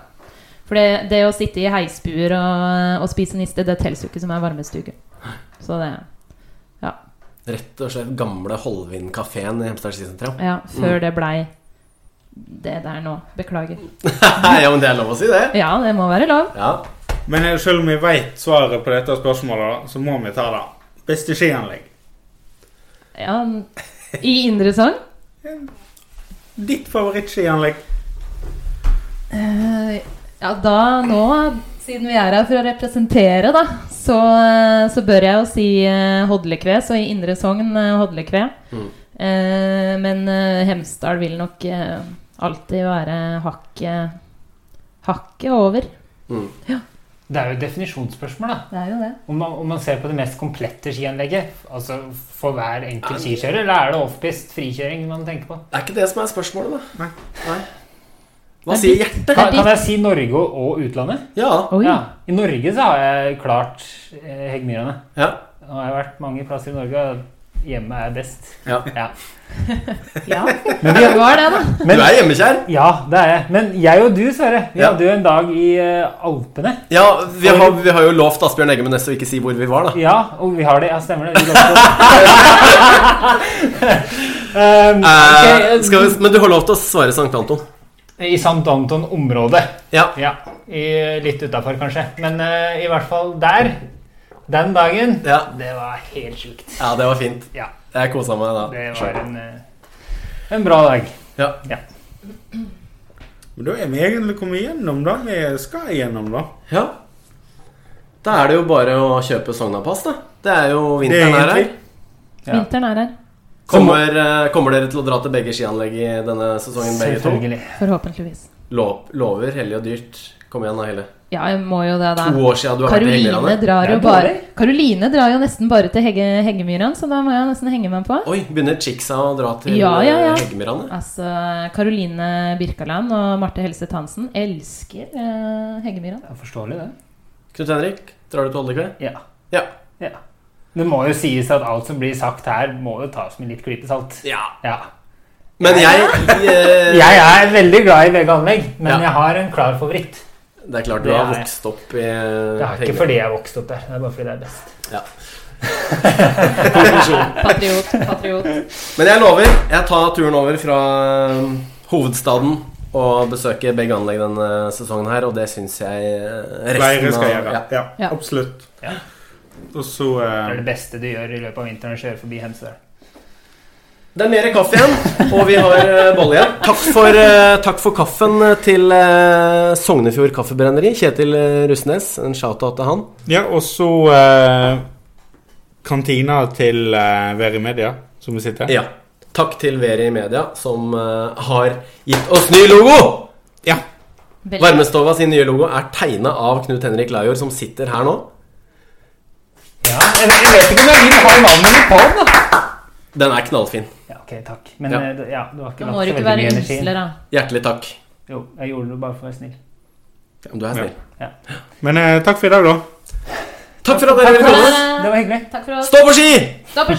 For det, det å sitte i heisbuer og, og spise niste, det teller jo ikke som ei varmestuke. Så det Rett og slett gamle Holvin-kafeen i Hemsedal skisenter. ja. Ja, før Mm. det blei det der nå. Beklager. ja, men det er lov å si, det. Ja, det må være lov. Ja. Men eh, selv om vi veit svaret på dette spørsmålet, da, så må vi ta det. Beste skianlegg. Ja, I Indre Sogn. Ditt favorittskianlegg. Eh, Ja, da nå, siden vi er her for å representere, da, så, eh, så bør jeg jo si eh, Hodlekve. Så i Indre Sogn eh, Hodlekve. Mm. Eh, men eh, Hemsedal vil nok eh, alltid være hakket hakket over. Mm. Det er jo et definisjonsspørsmål, da. Det er jo det. Om man, om man ser på det mest komplette skianlegget, altså for hver enkelt skikjører, eller er det offpist frikjøring man tenker på? Det er ikke det som er spørsmålet, da. Nei. Nei. Hva Det er sier ditt- hjertet? Kan, kan jeg si Norge og- og utlandet? Ja. Oi. Ja. I Norge så har jeg klart eh, Heggmyrene. Ja. Nå har jeg vært mange plasser i Norge, og hjemme er best. ja. Ja, det var det, da. Du er hjemmekjær. Ja, det er jeg. Men jeg og du, Sverre, vi Ja. hadde jo en dag i eh, Alpene. Ja, vi har, vi har jo lovt Asbjørn Egge Næss å ikke si hvor vi var, da. Ja, og vi har det. Ja, stemmer det. Vi lovte um, Eh, ok, skal vi, men du har lov til å svare Sankt Anton. I St. Anton-området. Ja. Ja, i, Litt utafor, kanskje. Men eh, i hvert fall der. Den dagen. Ja. Det var helt sjukt. ja, det var fint. Ja. Jeg kosa meg da. Det var en, eh, en bra dag. Men da er vi egentlig kommet igjennom det vi skal igjennom, da. Ja. Da er det jo bare å kjøpe Sognapass, da. Det er jo vinteren Det er her. her. egentlig- Ja. Vinteren er her. Kommer, eh, kommer dere til å dra til begge skianlegg i denne sesongen, begge to? Selvfølgelig. Forhåpentligvis. Lov, lover, hellig og dyrt. Kom igjen, da, Helle. Ja, jeg må jo det, da. To år siden du har vært i Karoline Heggelandet. drar, Det er jo bare, dårlig. Karoline drar jo nesten bare til Hegge, Heggemyrene, så da må jeg nesten henge meg på. Oi, begynner chicksa å dra til Ja, ja, ja. eh, Heggemyrane? Altså, Karoline Birkaland og Marte Helseth Hansen elsker eh, Heggemyran. Det er forståelig, det. Knut Henrik, drar du til Oldekve? Ja. Ja. Ja. Det må jo sies at alt som blir sagt her, må jo tas med litt klype salt. Ja. Ja. Men jeg eh, Jeg er veldig glad i vegganlegg, men Ja. jeg har en klar favoritt. Det er klart du Det har er- vokst opp i Det er ikke fordi jeg vokste opp der, det er bare fordi det er best. Patriot, patriot. Men jeg lover, jeg tar turen over fra eh, hovedstaden og besøker begge anlegg denne sesongen her, og det syns jeg eh, Flere resten skal av gjøre. ja. Ja, Ja. absolutt. Ja. Og så Det eh, er det beste du gjør i løpet av vinteren, å kjøre forbi Hemsedal. Det er mer kaffe igjen, og vi har eh, bolle igjen. Takk for, eh, takk for kaffen til eh, Sognefjord Kaffebrenneri, Kjetil eh, Rusnes. En shout-out til han. Ja, og så eh, kantina til eh, Veri Media, som vi sitter. Ja. Takk til Veri Media, som eh, har gitt oss ny logo! Veldig. Varmestova sin nye logo er tegna av Knut Henrik Lajord, som sitter her nå. Ja, jeg vet- jeg vet ikke om jeg vil ha navnet ditt på den, da. Den er knallfin. Ja, ok, takk. Men Ja. eh, det- ja, du har ikke Da lagt må så du veldig ikke mye være energi. inn. ymsler, da. Hjertelig takk. Jo, jeg gjorde det bare for å være snill. Du er snill. Men eh, takk for i dag, da. Takk for at dere ville for komme. det. Det var hyggelig. Takk for oss. Stå på ski! Stå på ski!